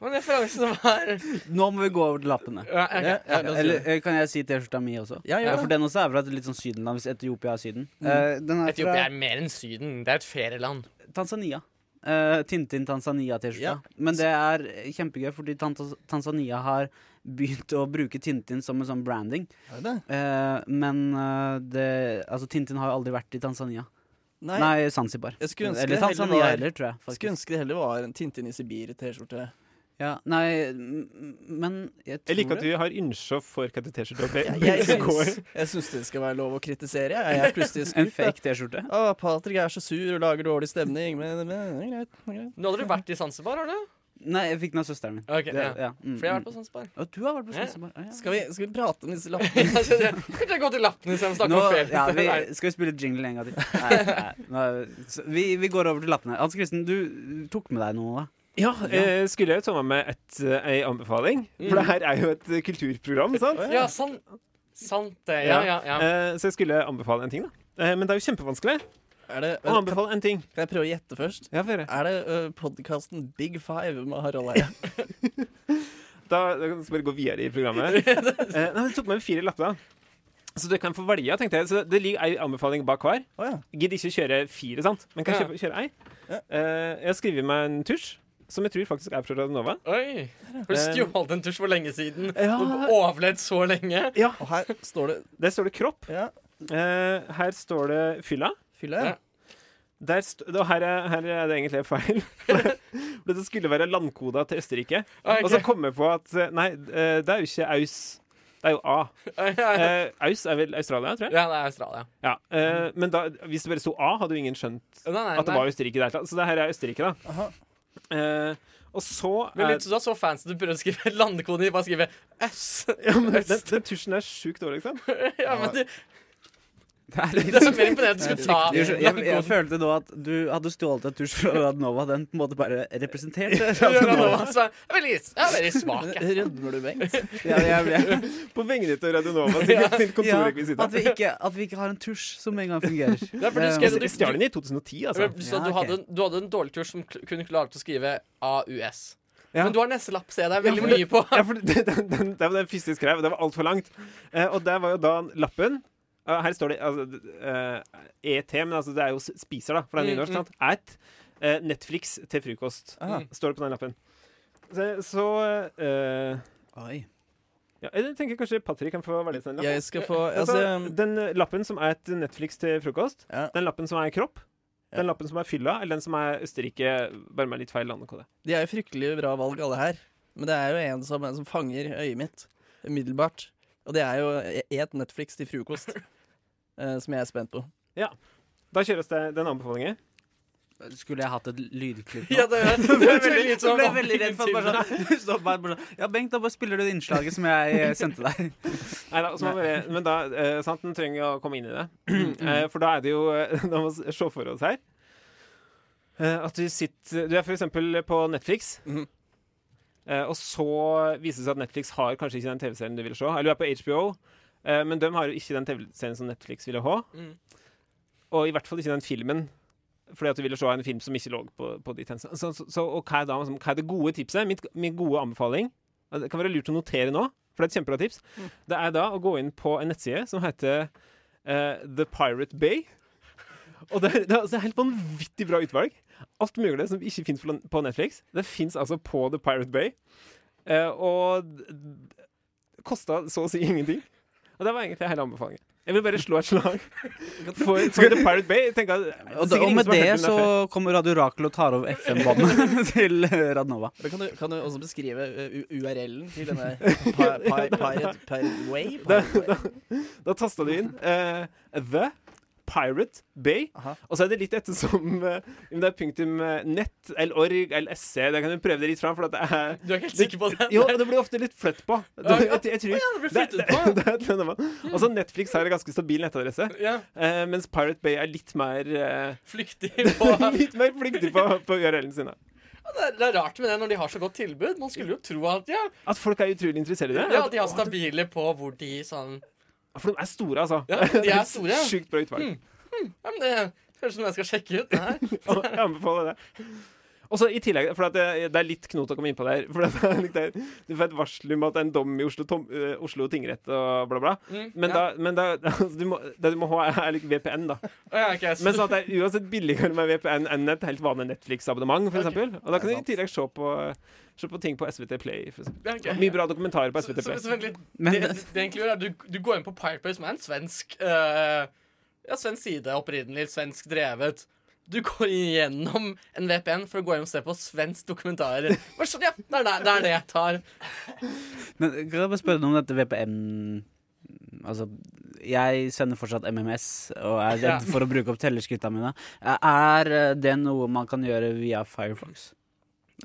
Speaker 8: Men referansen var
Speaker 6: Nå må vi gå over til lappene.
Speaker 8: Ja, ok. Ja, la oss gjøre det.
Speaker 6: Eller eh, kan jeg si T-skjorta mi også? Eh,
Speaker 8: Ja, gjør det.
Speaker 6: For den også er fra et litt sånn sydenland, hvis Etiopia er Syden.
Speaker 8: Mm.
Speaker 6: Eh, den er
Speaker 8: Etiopia er
Speaker 6: fra
Speaker 8: mer enn Syden. Det er et ferieland.
Speaker 6: Tanzania. Eh, Tintin Tanzania-T-skjorta.
Speaker 8: Ja.
Speaker 6: Men det er kjempegøy, fordi Tan- Tanzania har begynt å bruke Tintin som en sånn branding. Eh, men eh, det, altså, Tintin har jo aldri vært i Tanzania. Nei, Zanzibar.
Speaker 7: Jeg skulle ønske
Speaker 6: Eller
Speaker 7: det heller
Speaker 6: Tanzania
Speaker 7: var-
Speaker 6: heller, tror jeg. faktisk.
Speaker 7: Skulle ønske det heller var en Tintin i Sibir-T-skjorte.
Speaker 6: Ja, nei, men jeg
Speaker 9: Jeg liker at du har innsjå for hva det T-skjorte går.
Speaker 7: Jeg syns det skal være lov å kritisere. Jeg, jeg er plutselig skuffet.
Speaker 9: En fake T-skjorte?
Speaker 7: Å, Patrick er så sur og lager dårlig stemning, men, men det er greit. Det er greit.
Speaker 8: Du har aldri vært i Zanzibar, har du?
Speaker 6: Nei, jeg fikk den av søsteren min.
Speaker 8: Ok,
Speaker 6: Det-
Speaker 8: ja.
Speaker 6: mm,
Speaker 8: For jeg har
Speaker 6: mm.
Speaker 8: vært på Zanzibar.
Speaker 6: Og du har vært på
Speaker 8: Ja.
Speaker 6: Zanzibar. Ja, ja.
Speaker 7: Skal vi, skal vi prate om disse
Speaker 8: Jeg
Speaker 7: lappene?
Speaker 8: skjønner. Kanskje jeg går til lappene istedenfor å snakke
Speaker 6: Nå-
Speaker 8: om ferie.
Speaker 6: ja, vi, skal vi spille jingle en gang til? Nei, nei, nå- så vi, vi går over til lappene. Hans Kristen, du tok med deg noe, da?
Speaker 9: Ja, eh, skulle jeg jo ta med meg et, eh, ei anbefaling? For det her er jo et eh, kulturprogram, sant?
Speaker 8: Ja, sant, sant det. Ja, ja, ja.
Speaker 9: Eh, så jeg skulle anbefale en ting, da. Eh, men det er jo kjempevanskelig.
Speaker 7: Er det,
Speaker 9: Å anbefale en ting.
Speaker 7: Kan jeg prøve å gjette først?
Speaker 9: Ja, for det.
Speaker 7: Er det uh, podkasten Big Five med Harald Eia?
Speaker 9: Da, da kan vi bare gå videre i programmet. Eh, nei, jeg tok med meg fire lapper, da. Så du kan få velge, tenkte jeg. Så det ligger ei anbefaling bak hver.
Speaker 7: Oh,
Speaker 9: Gidd ikke kjøre fire, sant? Men kan
Speaker 8: Ja.
Speaker 9: kjøpe, kjøre ei. Eh, jeg har skrevet meg en tusj, som jeg tror faktisk er fra Radionova.
Speaker 8: Oi. Har du stjålet en tusj for lenge siden?
Speaker 9: Ja.
Speaker 8: Og overlevd så lenge?
Speaker 9: Ja.
Speaker 7: Og her står det
Speaker 9: Der står det kropp. Eh, her står det fylla.
Speaker 7: Fylla, ja.
Speaker 9: Der st og her, er, her er det egentlig feil. For det skulle være landkoda til Østerrike.
Speaker 8: Ah, ok.
Speaker 9: Og så kom jeg på at eh, Nei, eh, det er jo ikke aus. Det er jo A. Eh, aus er vel Australia, tror jeg?
Speaker 8: Ja, det er Australia.
Speaker 9: Ja, eh, Men da, hvis det bare sto A, hadde jo ingen skjønt
Speaker 8: Nei, nei,
Speaker 9: at det
Speaker 8: nei.
Speaker 9: var Østerrike. Der. Så det her er Østerrike, da. Eh, og så
Speaker 8: Men
Speaker 9: er-
Speaker 8: litt, så du er så fancy at du prøver å skrive landekode i bare skrive S.
Speaker 9: ja, men den, den tusjen er sjukt dårlig, ikke sant?
Speaker 8: Ja, men du,
Speaker 6: Det er,
Speaker 8: Det er så mer imponerende at du skulle ta
Speaker 6: Jeg, jeg, jeg,
Speaker 8: landkoden.
Speaker 6: følte nå at du hadde stjålet en tusj fra Radnova. Den på en måte bare representerte
Speaker 8: Radionova,
Speaker 6: Radnova.
Speaker 8: så altså. er jeg veldig, jeg er veldig svak. jeg.
Speaker 7: Rødmer du, Bengt?
Speaker 6: Ja, jeg ble-
Speaker 9: På vingene til Radionova sikkert, sin kontorrekvisitt.
Speaker 6: Ja, at, vi ikke, at vi ikke har en tusj som engang fungerer. Eh,
Speaker 8: Ja, for du skrev-
Speaker 9: Jeg stjal den i 2010, altså.
Speaker 8: Men Du, sa at du, hadde, en- du hadde en dårlig tur som kl- kunne klare til å skrive AUS.
Speaker 9: Ja.
Speaker 8: Men du har neste lapp, ser jeg. Det er
Speaker 9: Ja,
Speaker 8: veldig
Speaker 9: for
Speaker 8: mye på.
Speaker 9: Ja, for det, den, den, det var den første jeg skrev, og det var altfor langt. Eh, og der var jo da lappen eh, Her står det altså, eh, ET, men altså, det er jo s- spiser, da, for det er
Speaker 8: Mm,
Speaker 9: nynorsk.
Speaker 8: mm.
Speaker 9: sant? At eh, Netflix til frokost, Mm,
Speaker 8: Ah.
Speaker 9: står det på den lappen. Så, så eh,
Speaker 6: Oi.
Speaker 9: Ja, jeg tenker kanskje Patrick kan få velge seg en lapp.
Speaker 7: Jeg skal få-
Speaker 8: um,
Speaker 7: altså-
Speaker 9: den eh, lappen som er et Netflix til frokost, den lappen som er kropp, den lappen som er fylla, eller den som er Østerrike, bare med litt feil landekode.
Speaker 7: De er jo fryktelig bra valg, alle her. Men det er jo en som, en som fanger øyet mitt umiddelbart. Og det er jo e-, et Netflix til frokost, eh, som jeg er spent på.
Speaker 9: Ja. Da kjøres det den anbefalingen.
Speaker 6: Skulle jeg hatt et lydklipp
Speaker 7: Ja, det- det
Speaker 6: Du
Speaker 7: ble
Speaker 6: ble veldig,
Speaker 7: litt
Speaker 6: du
Speaker 7: sånn
Speaker 6: ble veldig redd for at bare
Speaker 7: antingen
Speaker 6: sånn, du står bare bare sånn Ja, Bengt, da bare spiller du det innslaget som jeg eh, sendte deg.
Speaker 9: Nei da, så må vi- men da eh, sant, den trenger å komme inn i det. Eh, for da er det jo eh, Da må vi se for oss her eh, at du sitter Du er for eksempel på Netflix. Eh, og så viser det seg at Netflix har kanskje ikke den TV-serien du vil se. Eller du er på HBO, eh, men de har jo ikke den TV-serien som Netflix ville ha.
Speaker 8: Mm.
Speaker 9: Og i hvert fall ikke den filmen. Fordi at du ville se en film som ikke lå på, på de tjenestene. Så, så, så og hva er da liksom, hva er det gode tipset? Mitt, min gode anbefaling og Det kan være lurt å notere nå, for det er et kjempebra tips.
Speaker 6: Mm.
Speaker 9: Det er da å gå inn på en nettside som heter eh, The Pirate Bay. Og det er, det er altså helt vanvittig bra utvalg. Alt mulig som ikke fins på Netflix. Det fins altså på The Pirate Bay. Eh, og d- d- kosta så å si ingenting. Og det var egentlig hele anbefalingen. Jeg vil bare slå et slag for, for The Pirate Bay. Jeg tenker at,
Speaker 6: Og,
Speaker 9: sikkert
Speaker 6: da, og
Speaker 9: ingen
Speaker 6: med
Speaker 9: som har hørt
Speaker 6: det
Speaker 9: om
Speaker 6: så
Speaker 9: før.
Speaker 6: kommer Radio Rakel og tar over FM-båndet til eh, Radnova.
Speaker 7: Men kan, du, kan du også beskrive eh, U- URL-en til denne pi- pi- Pirate Pirate Way?
Speaker 9: Da, da, da tasta du inn eh, The Pirate Bay. Og så er det litt etter som eh, om det er punktum eh, nett eller org eller sc. Da kan du prøve det litt fram. For at det er,
Speaker 8: Du er helt sikker på det?
Speaker 9: Jo, det blir ofte litt flytt på. Det,
Speaker 8: Ja,
Speaker 9: jeg,
Speaker 8: ja.
Speaker 9: jeg, tror-
Speaker 8: Å ja, det blir
Speaker 9: det-
Speaker 8: flyttet
Speaker 9: det-
Speaker 8: på, ja.
Speaker 9: det er et eller annet. Og så Netflix har en ganske stabil nettadresse,
Speaker 8: Ja.
Speaker 9: eh, mens Pirate Bay er litt mer eh,
Speaker 8: Flyktig på
Speaker 9: Litt mer flyktig på, på URL-en sin. da.
Speaker 8: Ja, det, er, det er rart med det når de har så godt tilbud. Man skulle jo tro at ja,
Speaker 9: At folk er utrolig interessert i det.
Speaker 8: ja
Speaker 9: At-
Speaker 8: de er stabile på hvor de sånn
Speaker 9: For de er store, altså.
Speaker 8: Ja, de er store.
Speaker 9: Sjukt bra utvalg.
Speaker 8: Mm. Mm. Ja, men det høres ut som noe jeg skal sjekke ut. Det her.
Speaker 9: Jeg anbefaler det. Og så i tillegg, for at det, det er litt knot å komme inn på der For at det er litt der- Du får et varsel om at det er en dom i Oslo, tom, eh, Oslo tingrett og bla, bla.
Speaker 8: Mm,
Speaker 9: men
Speaker 8: ja.
Speaker 9: da, men da altså, du må, Det du må ha, er like VPN, da.
Speaker 8: ja, ok, så-
Speaker 9: Men sånn at det er uansett billigere med VPN enn et helt vanlig Netflix-abonnement, for eksempel Og da kan du i tillegg se på, se på ting på SVT Play. For eksempel.
Speaker 8: Ja, ok.
Speaker 9: Mye bra dokumentarer på SVT
Speaker 8: Så,
Speaker 9: Play.
Speaker 8: så vent litt.
Speaker 9: Men-
Speaker 8: det, det, det egentlig gjør, er du, du går inn på Pirate Bay, som er en svensk eh, Ja, svensk side opprinnelig, svensk drevet. Du går gjennom en VPN for å gå hjem og se på svensk dokumentar. Bare Sånn, ja, det er det, det er det jeg tar.
Speaker 6: Men kan jeg bare spørre noe om dette VPN Altså, jeg sender fortsatt MMS og er
Speaker 8: Ja.
Speaker 6: redd for å bruke opp tellerskrittene mine. Er eh, det noe man kan gjøre via Firefox?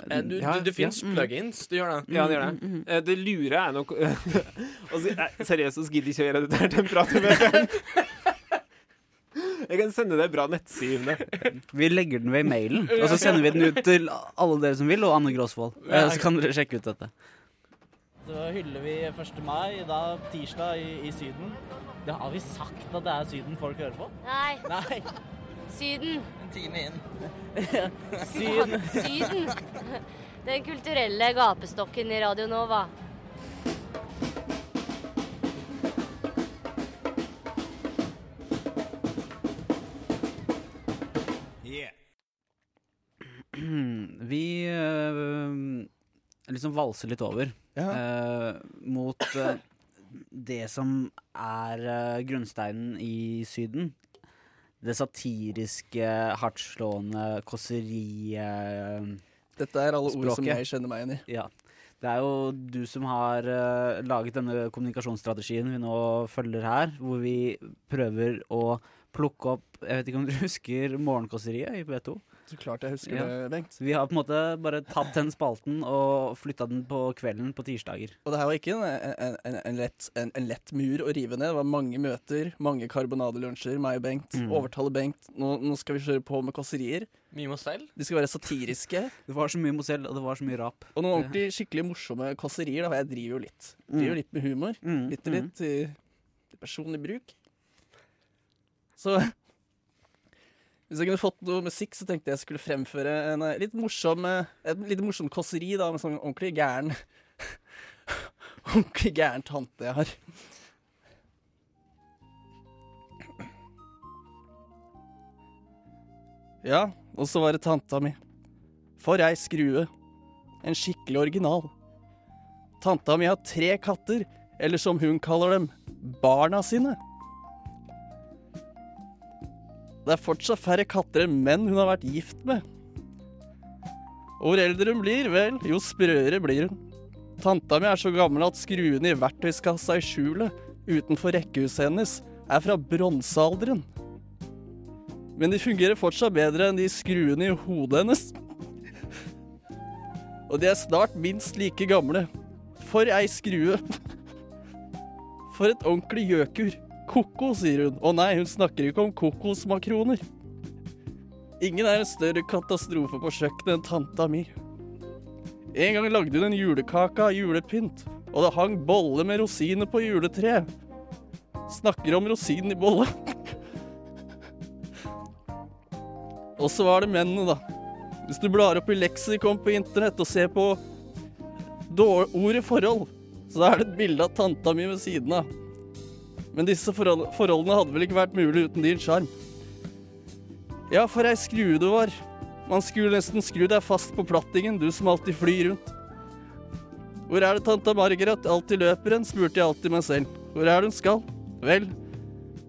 Speaker 8: Eh, Du,
Speaker 9: Ja,
Speaker 8: du, det fins
Speaker 9: ja. Mm.
Speaker 8: plugins. Du gjør det.
Speaker 9: Ja, det gjør
Speaker 6: Mm,
Speaker 9: det. Eh, Det lure er nok altså, nei, Seriøst, så gidder jeg ikke å gjøre dette her til en prat med VPN. Jeg kan sende deg bra nettside.
Speaker 6: Vi legger den ved i mailen, og så sender vi den ut til alle dere som vil, og Anne Gråsvold. Eh, Så kan dere sjekke ut dette.
Speaker 17: Så hyller vi 1. mai, da tirsdag i, i Syden. Det har vi sagt at det er Syden folk hører på?
Speaker 18: Nei.
Speaker 17: Nei.
Speaker 18: Syden.
Speaker 17: En time inn.
Speaker 18: Syden. Den kulturelle gapestokken i Radio Nova.
Speaker 6: Vi eh, liksom valser litt over eh, mot eh, det som er eh, grunnsteinen i Syden. Det satiriske, hardtslående kåserispråket.
Speaker 7: Dette er alle ord som jeg kjenner meg igjen i.
Speaker 6: Ja. Det er jo du som har eh, laget denne kommunikasjonsstrategien vi nå følger her, hvor vi prøver å plukke opp Jeg vet ikke om du husker Morgenkåseriet i P2?
Speaker 7: Så klart jeg husker det, Bengt.
Speaker 6: Vi har på en måte bare tatt den spalten og flytta den på kvelden på tirsdager.
Speaker 7: Og det her var ikke en, en, en, en, lett, en, en lett mur å rive ned. Det var mange møter, mange karbonadelunsjer. Meg og Bengt.
Speaker 6: Mm.
Speaker 7: Overtale Bengt. Nå, nå skal vi kjøre på med kåserier.
Speaker 8: Mye Mozell.
Speaker 7: De skal være satiriske.
Speaker 6: Det var så mye Mozell, og det var så mye rap.
Speaker 7: Og noen ordentlig skikkelig morsomme kåserier. da, for Jeg driver jo litt
Speaker 6: Mm.
Speaker 7: Driver jo litt med humor.
Speaker 6: Mm,
Speaker 7: Litt til
Speaker 6: mm.
Speaker 7: litt i til personlig bruk. Så hvis jeg kunne fått noe musikk, så tenkte jeg skulle fremføre en eh, litt morsom eh, et litt morsom kåseri, da, med sånn ordentlig gæren Ordentlig gæren tante jeg har. Ja, og så var det tanta mi. For ei skrue. En skikkelig original. Tanta mi har tre katter, eller som hun kaller dem, barna sine. Det er fortsatt færre katter enn menn hun har vært gift med. Og hvor eldre hun blir, vel, jo sprøere blir hun. Tanta mi er så gammel at skruene i verktøyskassa i skjulet utenfor rekkehuset hennes er fra bronsealderen. Men de fungerer fortsatt bedre enn de skruene i hodet hennes. Og de er snart minst like gamle. For ei skrue. For et ordentlig gjøkur. Koko, sier hun. Å nei, hun snakker ikke om kokosmakroner. Ingen er en større katastrofe på kjøkkenet enn tanta mi. En gang lagde hun en julekake av julepynt, og det hang bolle med rosiner på juletreet. Snakker om rosinen i bolle. Og så var det mennene, da. Hvis du blar opp i leksikon på internett og ser på dår- ordet forhold, så er det et bilde av tanta mi ved siden av. Men disse forhold forholdene hadde vel ikke vært mulig uten din sjarm. Ja, for ei skrue du var. Man skulle nesten skru deg fast på plattingen, du som alltid flyr rundt. Hvor er det tanta Margaret alltid løper hen, spurte jeg alltid meg selv. Hvor er det hun skal? Vel,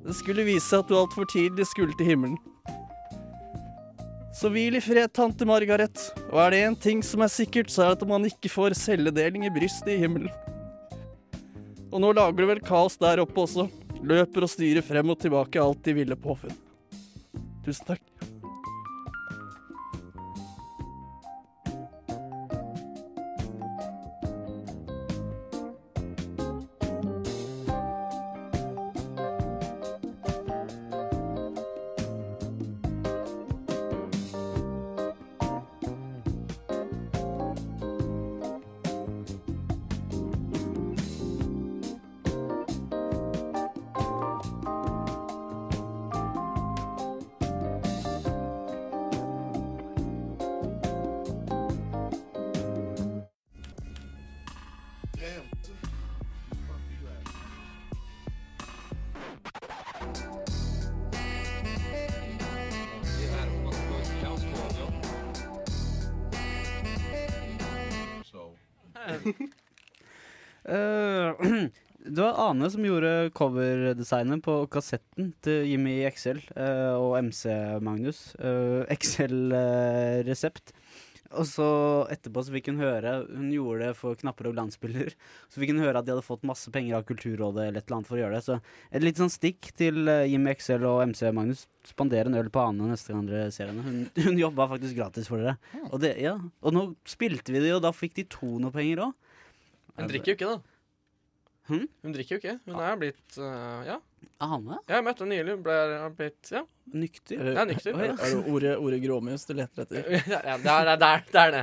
Speaker 7: det skulle vise seg at du altfor tidlig skulle til himmelen. Så hvil i fred, tante Margaret. Og er det én ting som er sikkert, så er det at man ikke får celledeling i brystet i himmelen. Og nå lager du vel kaos der oppe også. Løper og styrer frem og tilbake alt de ville påfunn. Tusen takk.
Speaker 6: Eh, det var Ane som gjorde coverdesignet på kassetten til Jimmy XL eh, og MC Magnus. XL-resept. og så etterpå så fikk hun høre Hun gjorde det for knapper og glansbilder. Så fikk hun høre at de hadde fått masse penger av Kulturrådet eller et eller annet for å gjøre det. Så et litt sånn stikk til eh, Jimmy XL og MC Magnus. Spandere en øl på Ane neste gang dere ser henne. Hun, hun jobba faktisk gratis for dere. Og, det, ja. og nå spilte vi det, og da fikk de to noe penger òg.
Speaker 8: Hun drikker jo ikke, da.
Speaker 6: Hm?
Speaker 8: Hun drikker jo ikke. Hun er blitt øh, Ja.
Speaker 6: Ane?
Speaker 8: Ja, jeg møtte henne nylig. Hun ble har blitt Ja.
Speaker 6: Nykter?
Speaker 8: Ja, nykter.
Speaker 7: Er, er det ordet, ordet gråmus du leter etter?
Speaker 8: ja, det er det. Er, det, er det.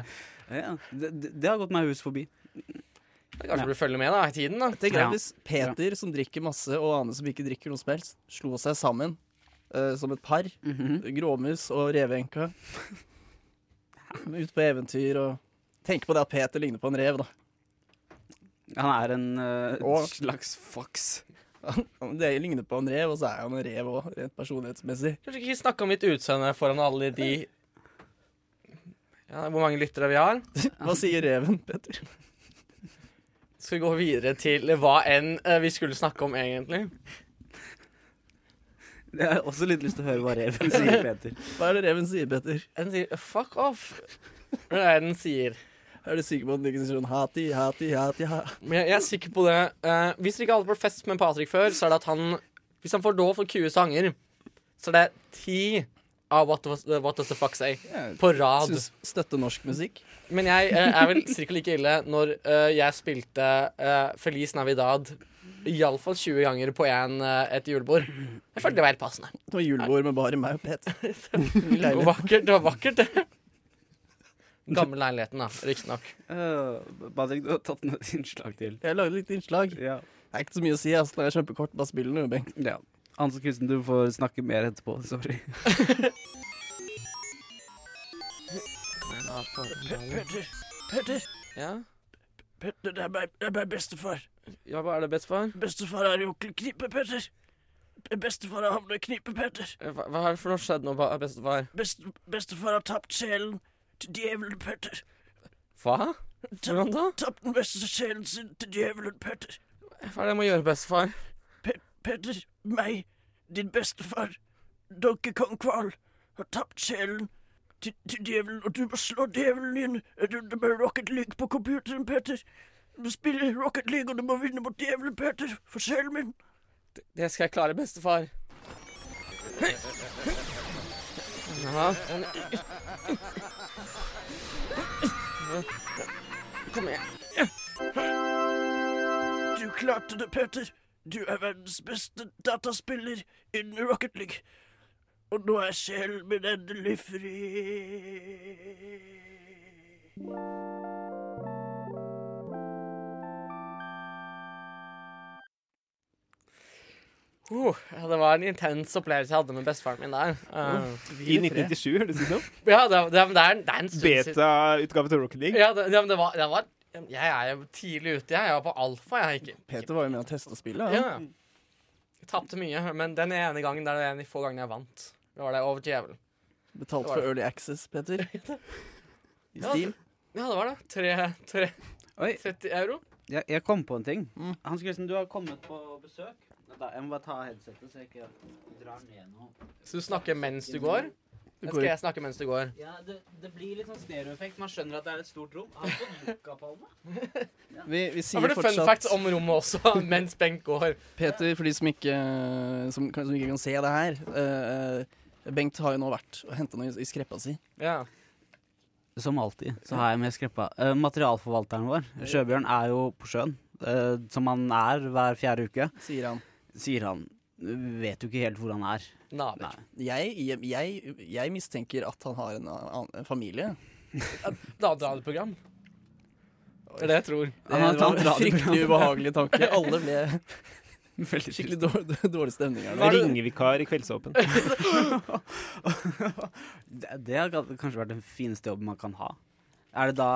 Speaker 6: Ja, det, det- det har gått meg hus forbi.
Speaker 8: Kanskje du følger med da, i tiden? da
Speaker 7: Jeg tenker
Speaker 8: Ja.
Speaker 7: at Hvis Peter, som drikker masse, og Ane, som ikke drikker noe som helst, slo seg sammen eh, som et par,
Speaker 6: Mhm.
Speaker 7: gråmus og reveenka Ut på eventyr og Tenk på det at Peter ligner på en rev, da.
Speaker 6: Han er en eh,
Speaker 7: Og-
Speaker 6: slags fox.
Speaker 7: det ligner på en rev, og så er han en rev òg, rent personlighetsmessig.
Speaker 8: Kanskje ikke snakke om mitt utseende foran alle de ja, Hvor mange lyttere vi har?
Speaker 7: Hva sier reven, Petter?
Speaker 8: Skal vi gå videre til hva enn eh, vi skulle snakke om, egentlig?
Speaker 6: Jeg har også litt lyst til å høre hva reven sier, Peter.
Speaker 7: Hva er det reven sier, Petter?
Speaker 8: Den sier 'fuck off'. Hva er det den sier?
Speaker 7: Er du sikker på at den ikke sier sånn hati, hati, hati, ha?
Speaker 8: Men jeg, jeg er sikker på det. Eh, hvis dere ikke har vært på fest med Patrick før, så er det at han Hvis han får lov for 20 sanger, så er det ti av What, was, eh, what Does The Fuck Say på rad.
Speaker 7: Synes- Støtte norsk musikk?
Speaker 8: Men jeg eh, er vel cirka like ille når eh, jeg spilte eh, Feliz Navidad iallfall 20 ganger på en, eh, et julebord. Jeg følte det var helt passende.
Speaker 7: Det var julebord med bare meg og Peter.
Speaker 8: Det var vakkert, det var vakkert. Gamle leiligheten, da, riktignok.
Speaker 6: Patrick, Eh, du har tatt med et innslag til.
Speaker 7: Jeg lagde litt innslag. Det er ikke så mye å si. ass. Den er kjempekort. Bare spill den, jo, Bengt.
Speaker 6: Ja. Hans og Kristen, du får snakke mer etterpå. Sorry.
Speaker 10: Petter, Petter.
Speaker 8: Ja?
Speaker 10: Petter, det er meg, det er meg bestefar.
Speaker 8: Ja, hva er det, bestefar?
Speaker 10: Bestefar er i onkel Knipe, Petter. Be- Bestefar har havnet i knipe, Petter.
Speaker 8: Eh, Hva, hva er det for noe skjedd nå, ba- bestefar?
Speaker 10: Best, bestefar har tapt sjelen til djevelen, Petter.
Speaker 8: Hva?
Speaker 10: Ta-
Speaker 8: Hvordan da?
Speaker 10: Tapt den beste sjelen sin til djevelen, Petter.
Speaker 8: Hva er det jeg må gjøre, bestefar?
Speaker 10: Pe Petter, meg, din bestefar, Donkey Kong Kval, har tapt sjelen til, til djevelen, og du må slå djevelen i en runde med Rocket League på computeren, Petter. Du må spille Rocket League, og du må vinne mot djevelen, Petter, for sjelen min.
Speaker 8: Det skal jeg klare, bestefar. Ja. Kom igjen.
Speaker 10: Du klarte det, Petter. Du er verdens beste dataspiller innen Rocket League. Og nå er sjelen min endelig fri.
Speaker 8: Uh, ja, det var en intens opplevelse jeg hadde med bestefaren min der. Uh,
Speaker 9: I 1997, høres det ut som.
Speaker 8: Ja, det, det, det, er, en- det er en stund
Speaker 9: Beta-utgave til Rocket League.
Speaker 8: Ja, det, ja, men det var, det var Jeg er jo tidlig ute. Jeg Jeg var på alfa. Jeg ikke
Speaker 7: Peter var jo med å teste spillet.
Speaker 8: ja. ja. Jeg Tapte mye, men den ene gangen det er en av de få gangene jeg vant. Det var det over djevelen.
Speaker 7: Betalt
Speaker 8: Det var
Speaker 7: for
Speaker 8: det.
Speaker 7: Early Access, Peter. I
Speaker 8: Ja,
Speaker 7: Steam.
Speaker 8: Ja, det var det. Tre, tre, 30 euro.
Speaker 6: Jeg, jeg kom på en ting. Hans Kristen, du har kommet på besøk. Vent da, Jeg må bare ta headsetet, så jeg ikke drar ned noe.
Speaker 8: Så du snakker mens du går?
Speaker 6: Du
Speaker 8: Eller
Speaker 6: går-
Speaker 8: skal jeg snakke mens du går?
Speaker 6: Ja, det, det blir litt sånn stereoeffekt. Man skjønner at det er et stort rom. Har du fått Coca-Palme?
Speaker 7: Vi, vi
Speaker 8: Da
Speaker 7: sier
Speaker 8: var det fun facts om rommet også, mens Bengt går.
Speaker 7: Peter, for de som ikke, som, kan- som ikke kan se det her eh, Bengt har jo nå vært og henta noe i, i skreppa si.
Speaker 8: Ja.
Speaker 6: Som alltid så har jeg med skreppa. Eh, materialforvalteren vår, Sjøbjørn, er jo på sjøen. eh, som han er hver fjerde uke.
Speaker 7: Sier han.
Speaker 6: Sier han. Vet jo ikke helt hvor han er.
Speaker 8: Naboer.
Speaker 7: Jeg, jeg, jeg, jeg mistenker at han har en, annen- en familie.
Speaker 8: Det hadde radioprogram. Det er det jeg tror.
Speaker 7: Det var en fryktelig ubehagelig tanke. Alle ble skikkelig dårlig, dårlig stemning her nå.
Speaker 9: Ringevikar i Kveldsåpen.
Speaker 6: Det, det har kan- kanskje vært den fineste jobben man kan ha. Er det da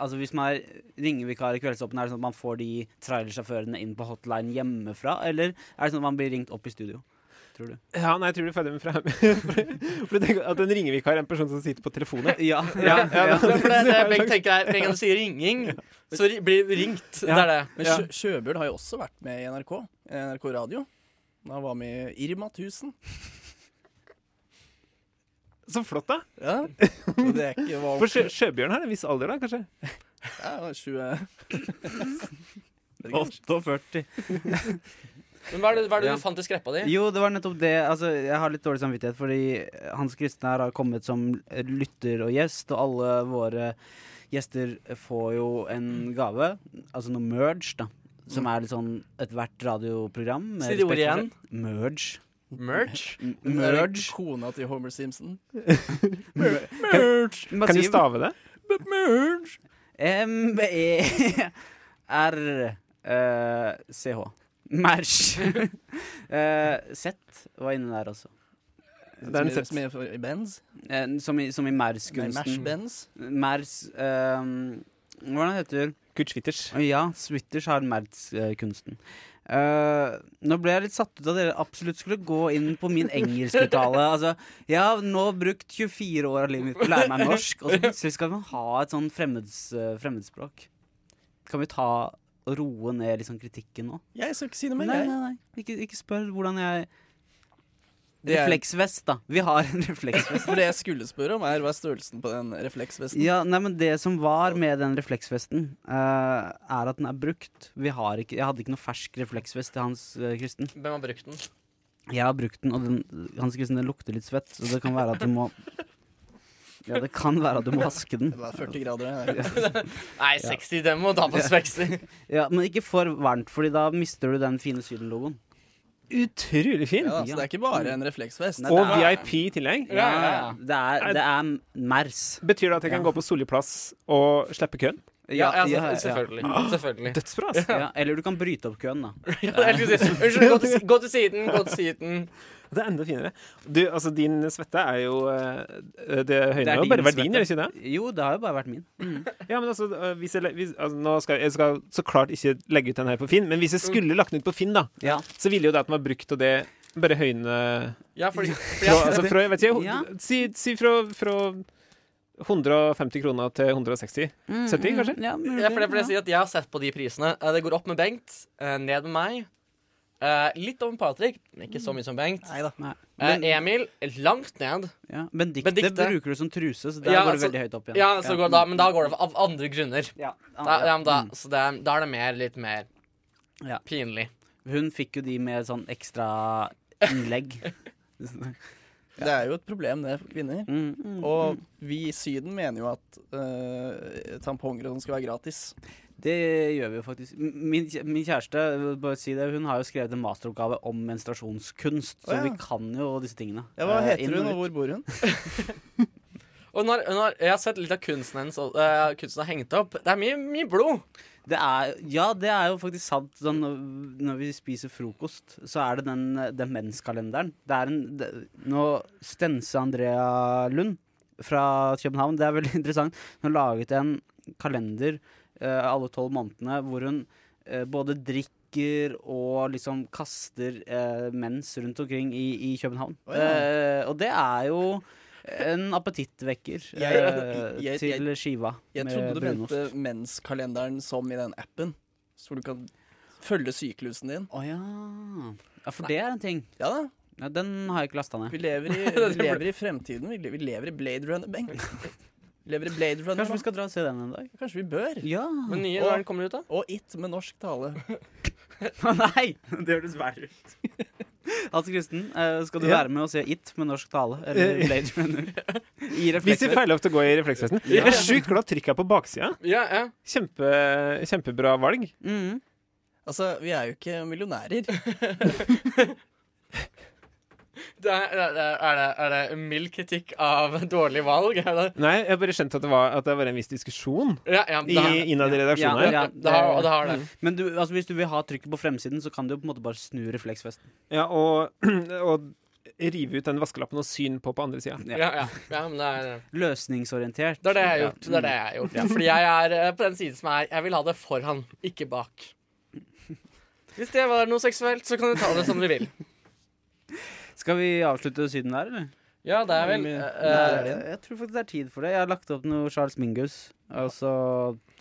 Speaker 6: Altså Hvis man er ringevikar i Kveldsåpen, er det sånn at man får de trailersjåførene inn på hotline hjemmefra? Eller er det sånn at man blir ringt opp i studio? tror du?
Speaker 9: Ja, nei, jeg tror du følger med fra For du tenker at en ringevikar er en person som sitter på telefonen?
Speaker 6: Ja.
Speaker 8: Det er for det, det Bengt tenker er, Med en gang du sier ringing, så ri- blir du ringt. Det er det.
Speaker 7: Men Sjø Sjøbjørn har jo også vært med i NRK. NRK Radio. Da han var med i Irma 1000.
Speaker 9: Så flott, da.
Speaker 7: Ja. Det er ikke hva
Speaker 9: For sjø, Sjøbjørn har en viss alder, da, kanskje?
Speaker 7: Ja, han er eh, 20
Speaker 6: 48.
Speaker 8: Men hva er det, hva er det
Speaker 6: Ja.
Speaker 8: du fant i skreppa di?
Speaker 6: Jo, det var nettopp det. Altså, jeg har litt dårlig samvittighet, fordi Hans Kristen her har kommet som lytter og gjest, og alle våre gjester får jo en gave. Altså noe merge, da. Som er litt sånn ethvert radioprogram. med
Speaker 8: Si det ordet
Speaker 6: respekt for- Merge.
Speaker 8: Merge?
Speaker 6: M-
Speaker 7: Det er
Speaker 6: Merge.
Speaker 7: Kona til Homer Simpson.
Speaker 6: Merge.
Speaker 9: Kan du stave det?
Speaker 6: Merge. M-e-r-c-h. Merge. Eh, Z var inne der også.
Speaker 7: Det er en Som i- Z. som i- for- i Benz?
Speaker 6: Eh, som i, som i
Speaker 7: Nei,
Speaker 6: Mers-kunsten.
Speaker 7: Mersh-Benz?
Speaker 6: Mers ehm, Hvordan heter det?
Speaker 9: Kurt Schwitters.
Speaker 6: Ja, Schwitters har Mers-kunsten. Eh, nå ble jeg litt satt ut av at dere absolutt skulle gå inn på min engelskuttale. altså, jeg har nå brukt 24 år av livet mitt på å lære meg norsk, og så plutselig skal man ha et sånn fremmeds, eh, fremmedspråk. Kan vi ta og roe ned liksom kritikken nå?
Speaker 7: Jeg skal ikke si noe mer,
Speaker 6: Nei,
Speaker 7: jeg.
Speaker 6: nei, nei. Ikke, ikke spør hvordan jeg
Speaker 7: Det er-
Speaker 6: Refleksvest, da. Vi har en refleksvest.
Speaker 7: For det jeg skulle spørre om, er hva er størrelsen på den refleksvesten?
Speaker 6: Ja, nei, men Det som var med den refleksvesten, eh, er at den er brukt. Vi har ikke, jeg hadde ikke noe fersk refleksvest til Hans eh, Kristen.
Speaker 8: Hvem har brukt den?
Speaker 6: Jeg har brukt den, og den, Hans Kristen, den lukter litt svett, så det kan være at du må Ja, det kan være at du må vaske den.
Speaker 7: Det var 40 grader, det her.
Speaker 8: Nei, 60, den må ta på svekster.
Speaker 6: Ja, men ikke for varmt, Fordi da mister du den fine Syden-logoen.
Speaker 9: Utrolig fin!
Speaker 7: Ja, da, så det er ikke bare en refleksvest.
Speaker 6: Nei, det
Speaker 9: Og
Speaker 6: er-
Speaker 9: VIP i tillegg.
Speaker 6: Ja, ja, ja. Det er- det er mers.
Speaker 9: Betyr det at jeg kan
Speaker 6: Ja.
Speaker 9: gå på Solli plass og slippe køen?
Speaker 6: Ja, Ja, ja, ja, ja.
Speaker 8: altså, selvfølgelig. Selvfølgelig.
Speaker 9: Dødsbra, altså.
Speaker 6: Ja, eller du kan bryte opp køen, da.
Speaker 8: Jeg skulle si, Unnskyld, gå til, si- gå til siden, gå til siden.
Speaker 9: Det er enda finere. Du, altså, din svette er jo eh, Det
Speaker 6: Det
Speaker 9: høyner
Speaker 6: er
Speaker 9: jo
Speaker 6: din
Speaker 9: bare verdien,
Speaker 6: svette.
Speaker 9: gjør det ikke det?
Speaker 6: Jo, det har jo bare vært min.
Speaker 9: Ja, men altså, eh, hvis jeg, le- hvis, altså nå skal, jeg- jeg skal så klart ikke legge ut den her på Finn, men hvis
Speaker 6: Mm.
Speaker 9: jeg skulle lagt den ut på Finn, da, så ville jo det at den var brukt, og det bare høyne
Speaker 8: Ja, fordi- fordi
Speaker 9: fra,
Speaker 8: jeg-
Speaker 9: altså, fra, jeg vet ikke,
Speaker 8: Ja.
Speaker 9: si, si fra, fra 150 kroner til 160.
Speaker 6: Mm.
Speaker 9: 70, kanskje?
Speaker 8: Ja, for det er fordi jeg sier at jeg har sett på de prisene. Eh, Det går opp med Bengt, eh, ned med meg. eh, Litt over Patrick, men ikke så mye som Bengt.
Speaker 6: Nei.
Speaker 8: Eh, Emil, langt ned.
Speaker 6: Ja, Benedicte bruker du som truse, så der går det
Speaker 8: så-
Speaker 6: veldig høyt opp igjen.
Speaker 8: Ja, så går, da, men da går det av andre grunner. da,
Speaker 6: andre-
Speaker 8: ja, mm. men da, så det, er- da er det mer, litt mer
Speaker 6: Ja.
Speaker 8: pinlig.
Speaker 6: Mm. Hun fikk jo de med sånn ekstra innlegg.
Speaker 7: Det er jo et problem, det, for kvinner.
Speaker 6: mm,
Speaker 7: Og vi i Syden mener jo at eh, tamponger og sånn skal være gratis.
Speaker 6: Det gjør vi jo faktisk. M- Min, kjæ- min kjæreste bare si det, hun har jo skrevet en masteroppgave om menstruasjonskunst, så
Speaker 7: Å, ja.
Speaker 6: vi kan jo disse tingene.
Speaker 7: Ja, hva
Speaker 6: Eh, inn
Speaker 7: heter hun, og
Speaker 6: ut.
Speaker 7: hvor bor hun?
Speaker 8: Og når, når, jeg har sett litt av kunsten hennes, og eh, kunsten har hengt opp. Det er mye, mye blod.
Speaker 6: Det er, ja, det er jo faktisk sant. Sånn, når- når vi spiser frokost, så er det den eh, demenskalenderen. Det er en det, Nå Stense Andrea Lund fra København, det er veldig interessant. Hun har laget en kalender eh, alle tolv månedene hvor hun eh, både drikker og liksom kaster eh, mens rundt omkring i, i København.
Speaker 7: Å, ja.
Speaker 6: Eh, og det er jo en appetittvekker eh,
Speaker 7: Jeg- jeg-
Speaker 6: til skiva
Speaker 7: Jeg trodde du mente menskalenderen som i den appen, så du kan følge syklusen din.
Speaker 6: Å ja. Ja, for det er en ting.
Speaker 7: Ja da.
Speaker 6: Ja, den har jeg ikke lasta ned.
Speaker 7: Vi lever i, vi lever i fremtiden. Vi lever, vi lever i Blade Runner, Bengt. Vi lever i Blade Runner.
Speaker 6: Kanskje vi skal dra og se den en dag?
Speaker 7: Kanskje vi bør.
Speaker 6: Ja.
Speaker 8: Men nye,
Speaker 7: Og-
Speaker 8: når den kommer ut, da?
Speaker 7: Og It med norsk tale.
Speaker 6: Nei! Det høres verre ut. Hans Kristen, eh, skal du
Speaker 9: Ja.
Speaker 6: være med og se It med norsk tale? Eller Blade Runner? I
Speaker 9: Hvis vi
Speaker 6: reflekser.
Speaker 9: får lov til å gå i refleksvesten.
Speaker 6: Ja.
Speaker 9: Jeg er sjukt glad trykket er på baksida.
Speaker 8: Ja, ja.
Speaker 9: Kjempe, kjempebra valg.
Speaker 7: Altså, vi er jo ikke millionærer.
Speaker 8: Det er, er, er, det, er det mild kritikk av dårlig valg? Er det?
Speaker 9: Nei, jeg bare skjønte at det var, at det var en viss diskusjon
Speaker 8: Ja, ja, det har-
Speaker 9: i- innad i redaksjonen.
Speaker 6: Ja, ja,
Speaker 9: her.
Speaker 8: har- det har det.
Speaker 6: Men du, altså, hvis du vil ha trykket på fremsiden, så kan du jo på en måte bare snu refleksvesten.
Speaker 9: Ja, og, og rive ut den vaskelappen og syn på på andre sida.
Speaker 8: Ja, ja. ja men det er
Speaker 6: Løsningsorientert.
Speaker 8: Det er det jeg har gjort. Det er det jeg har gjort.
Speaker 6: Ja.
Speaker 8: Fordi jeg er eh, på den siden som er Jeg vil ha det foran, ikke bak. Hvis det var noe seksuelt, så kan du ta det som du vil.
Speaker 6: Skal vi avslutte Syden der, eller?
Speaker 8: Ja, det er vel
Speaker 6: Nei,
Speaker 8: eh,
Speaker 6: jeg, jeg tror faktisk det er tid for det. Jeg har lagt opp noe Charles Mingus, og så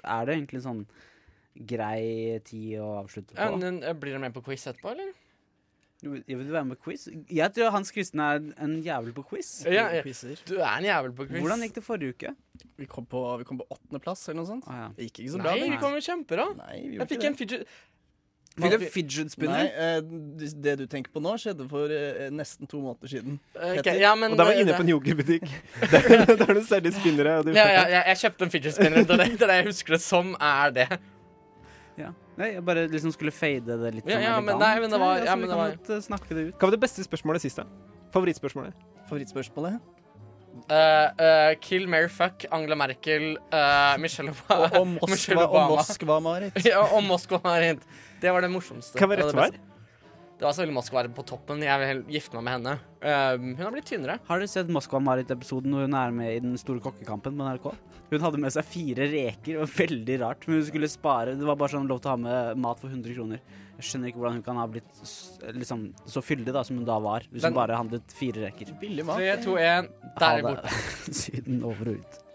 Speaker 6: er det egentlig sånn grei tid å avslutte
Speaker 8: ja,
Speaker 6: på.
Speaker 8: men, eh, Blir dere med på quiz etterpå, eller?
Speaker 6: Du- Jeg vil være med på quiz. Jeg tror Hans Kristen er en jævel på quiz.
Speaker 8: Ja, ja. Du er en jævel på quiz.
Speaker 6: Hvordan gikk det forrige uke? Ah,
Speaker 7: Vi kom på, vi kom på åttendeplass eller noe sånt. Det gikk ikke så bra.
Speaker 8: Nei,
Speaker 7: det.
Speaker 8: vi kommer kjempebra.
Speaker 7: Nei, vi gjorde
Speaker 8: Jeg fikk
Speaker 7: ikke
Speaker 8: en
Speaker 7: det.
Speaker 8: fidget
Speaker 7: Man-
Speaker 8: Fikk du en fidget spinner?
Speaker 7: Nei, eh, det- det du tenker på nå, skjedde for eh, nesten to måneder siden.
Speaker 8: Ok,
Speaker 7: Petter.
Speaker 8: ja, men
Speaker 9: Og da var jeg
Speaker 8: det-
Speaker 9: inne på en yogabutikk. Der, der du selger spinnere. Og du
Speaker 8: Ja, ja, ja, jeg kjøpte en fidget spinner. Det er det- det er det jeg husker det som er det.
Speaker 6: Ja. Nei, jeg bare liksom skulle fade det litt.
Speaker 8: Ja,
Speaker 6: sånn
Speaker 8: ja, men
Speaker 6: elegant,
Speaker 8: nei, men det var-
Speaker 6: altså,
Speaker 8: ja,
Speaker 6: vi
Speaker 8: men det
Speaker 6: kan
Speaker 8: var-
Speaker 6: godt, eh, snakke det ut.
Speaker 9: Hva var det beste spørsmålet sist, da? Favorittspørsmålet?
Speaker 7: Favorittspørsmålet?
Speaker 8: Eh, eh, kill, Mary Fuck, Angela Merkel, eh, Michelle Obama
Speaker 7: Og- og Moskva-
Speaker 8: Michelle
Speaker 7: og
Speaker 8: Obama.
Speaker 7: Moskva, Marit.
Speaker 8: ja, og Moskva, Marit. Det var det morsomste.
Speaker 9: Hva var rett
Speaker 8: og det beste. Det var selvfølgelig Moskva på toppen. Jeg vil hel- gifte meg med henne. Eh, hun har blitt tynnere.
Speaker 6: Har dere sett Moskva-Marit-episoden hvor hun er med i den store kokkekampen på NRK? Hun hadde med seg fire reker, og veldig rart, men hun skulle spare. Det var bare sånn lov til å ha med mat for 100 kroner. Jeg skjønner ikke hvordan hun kan ha blitt s- liksom, så fyldig da, som hun da var, hvis
Speaker 8: Men-
Speaker 6: hun bare handlet fire reker.
Speaker 8: Tre, to, en. Der
Speaker 6: Ha
Speaker 8: er
Speaker 6: det.
Speaker 8: borte.
Speaker 6: Syden over og ut.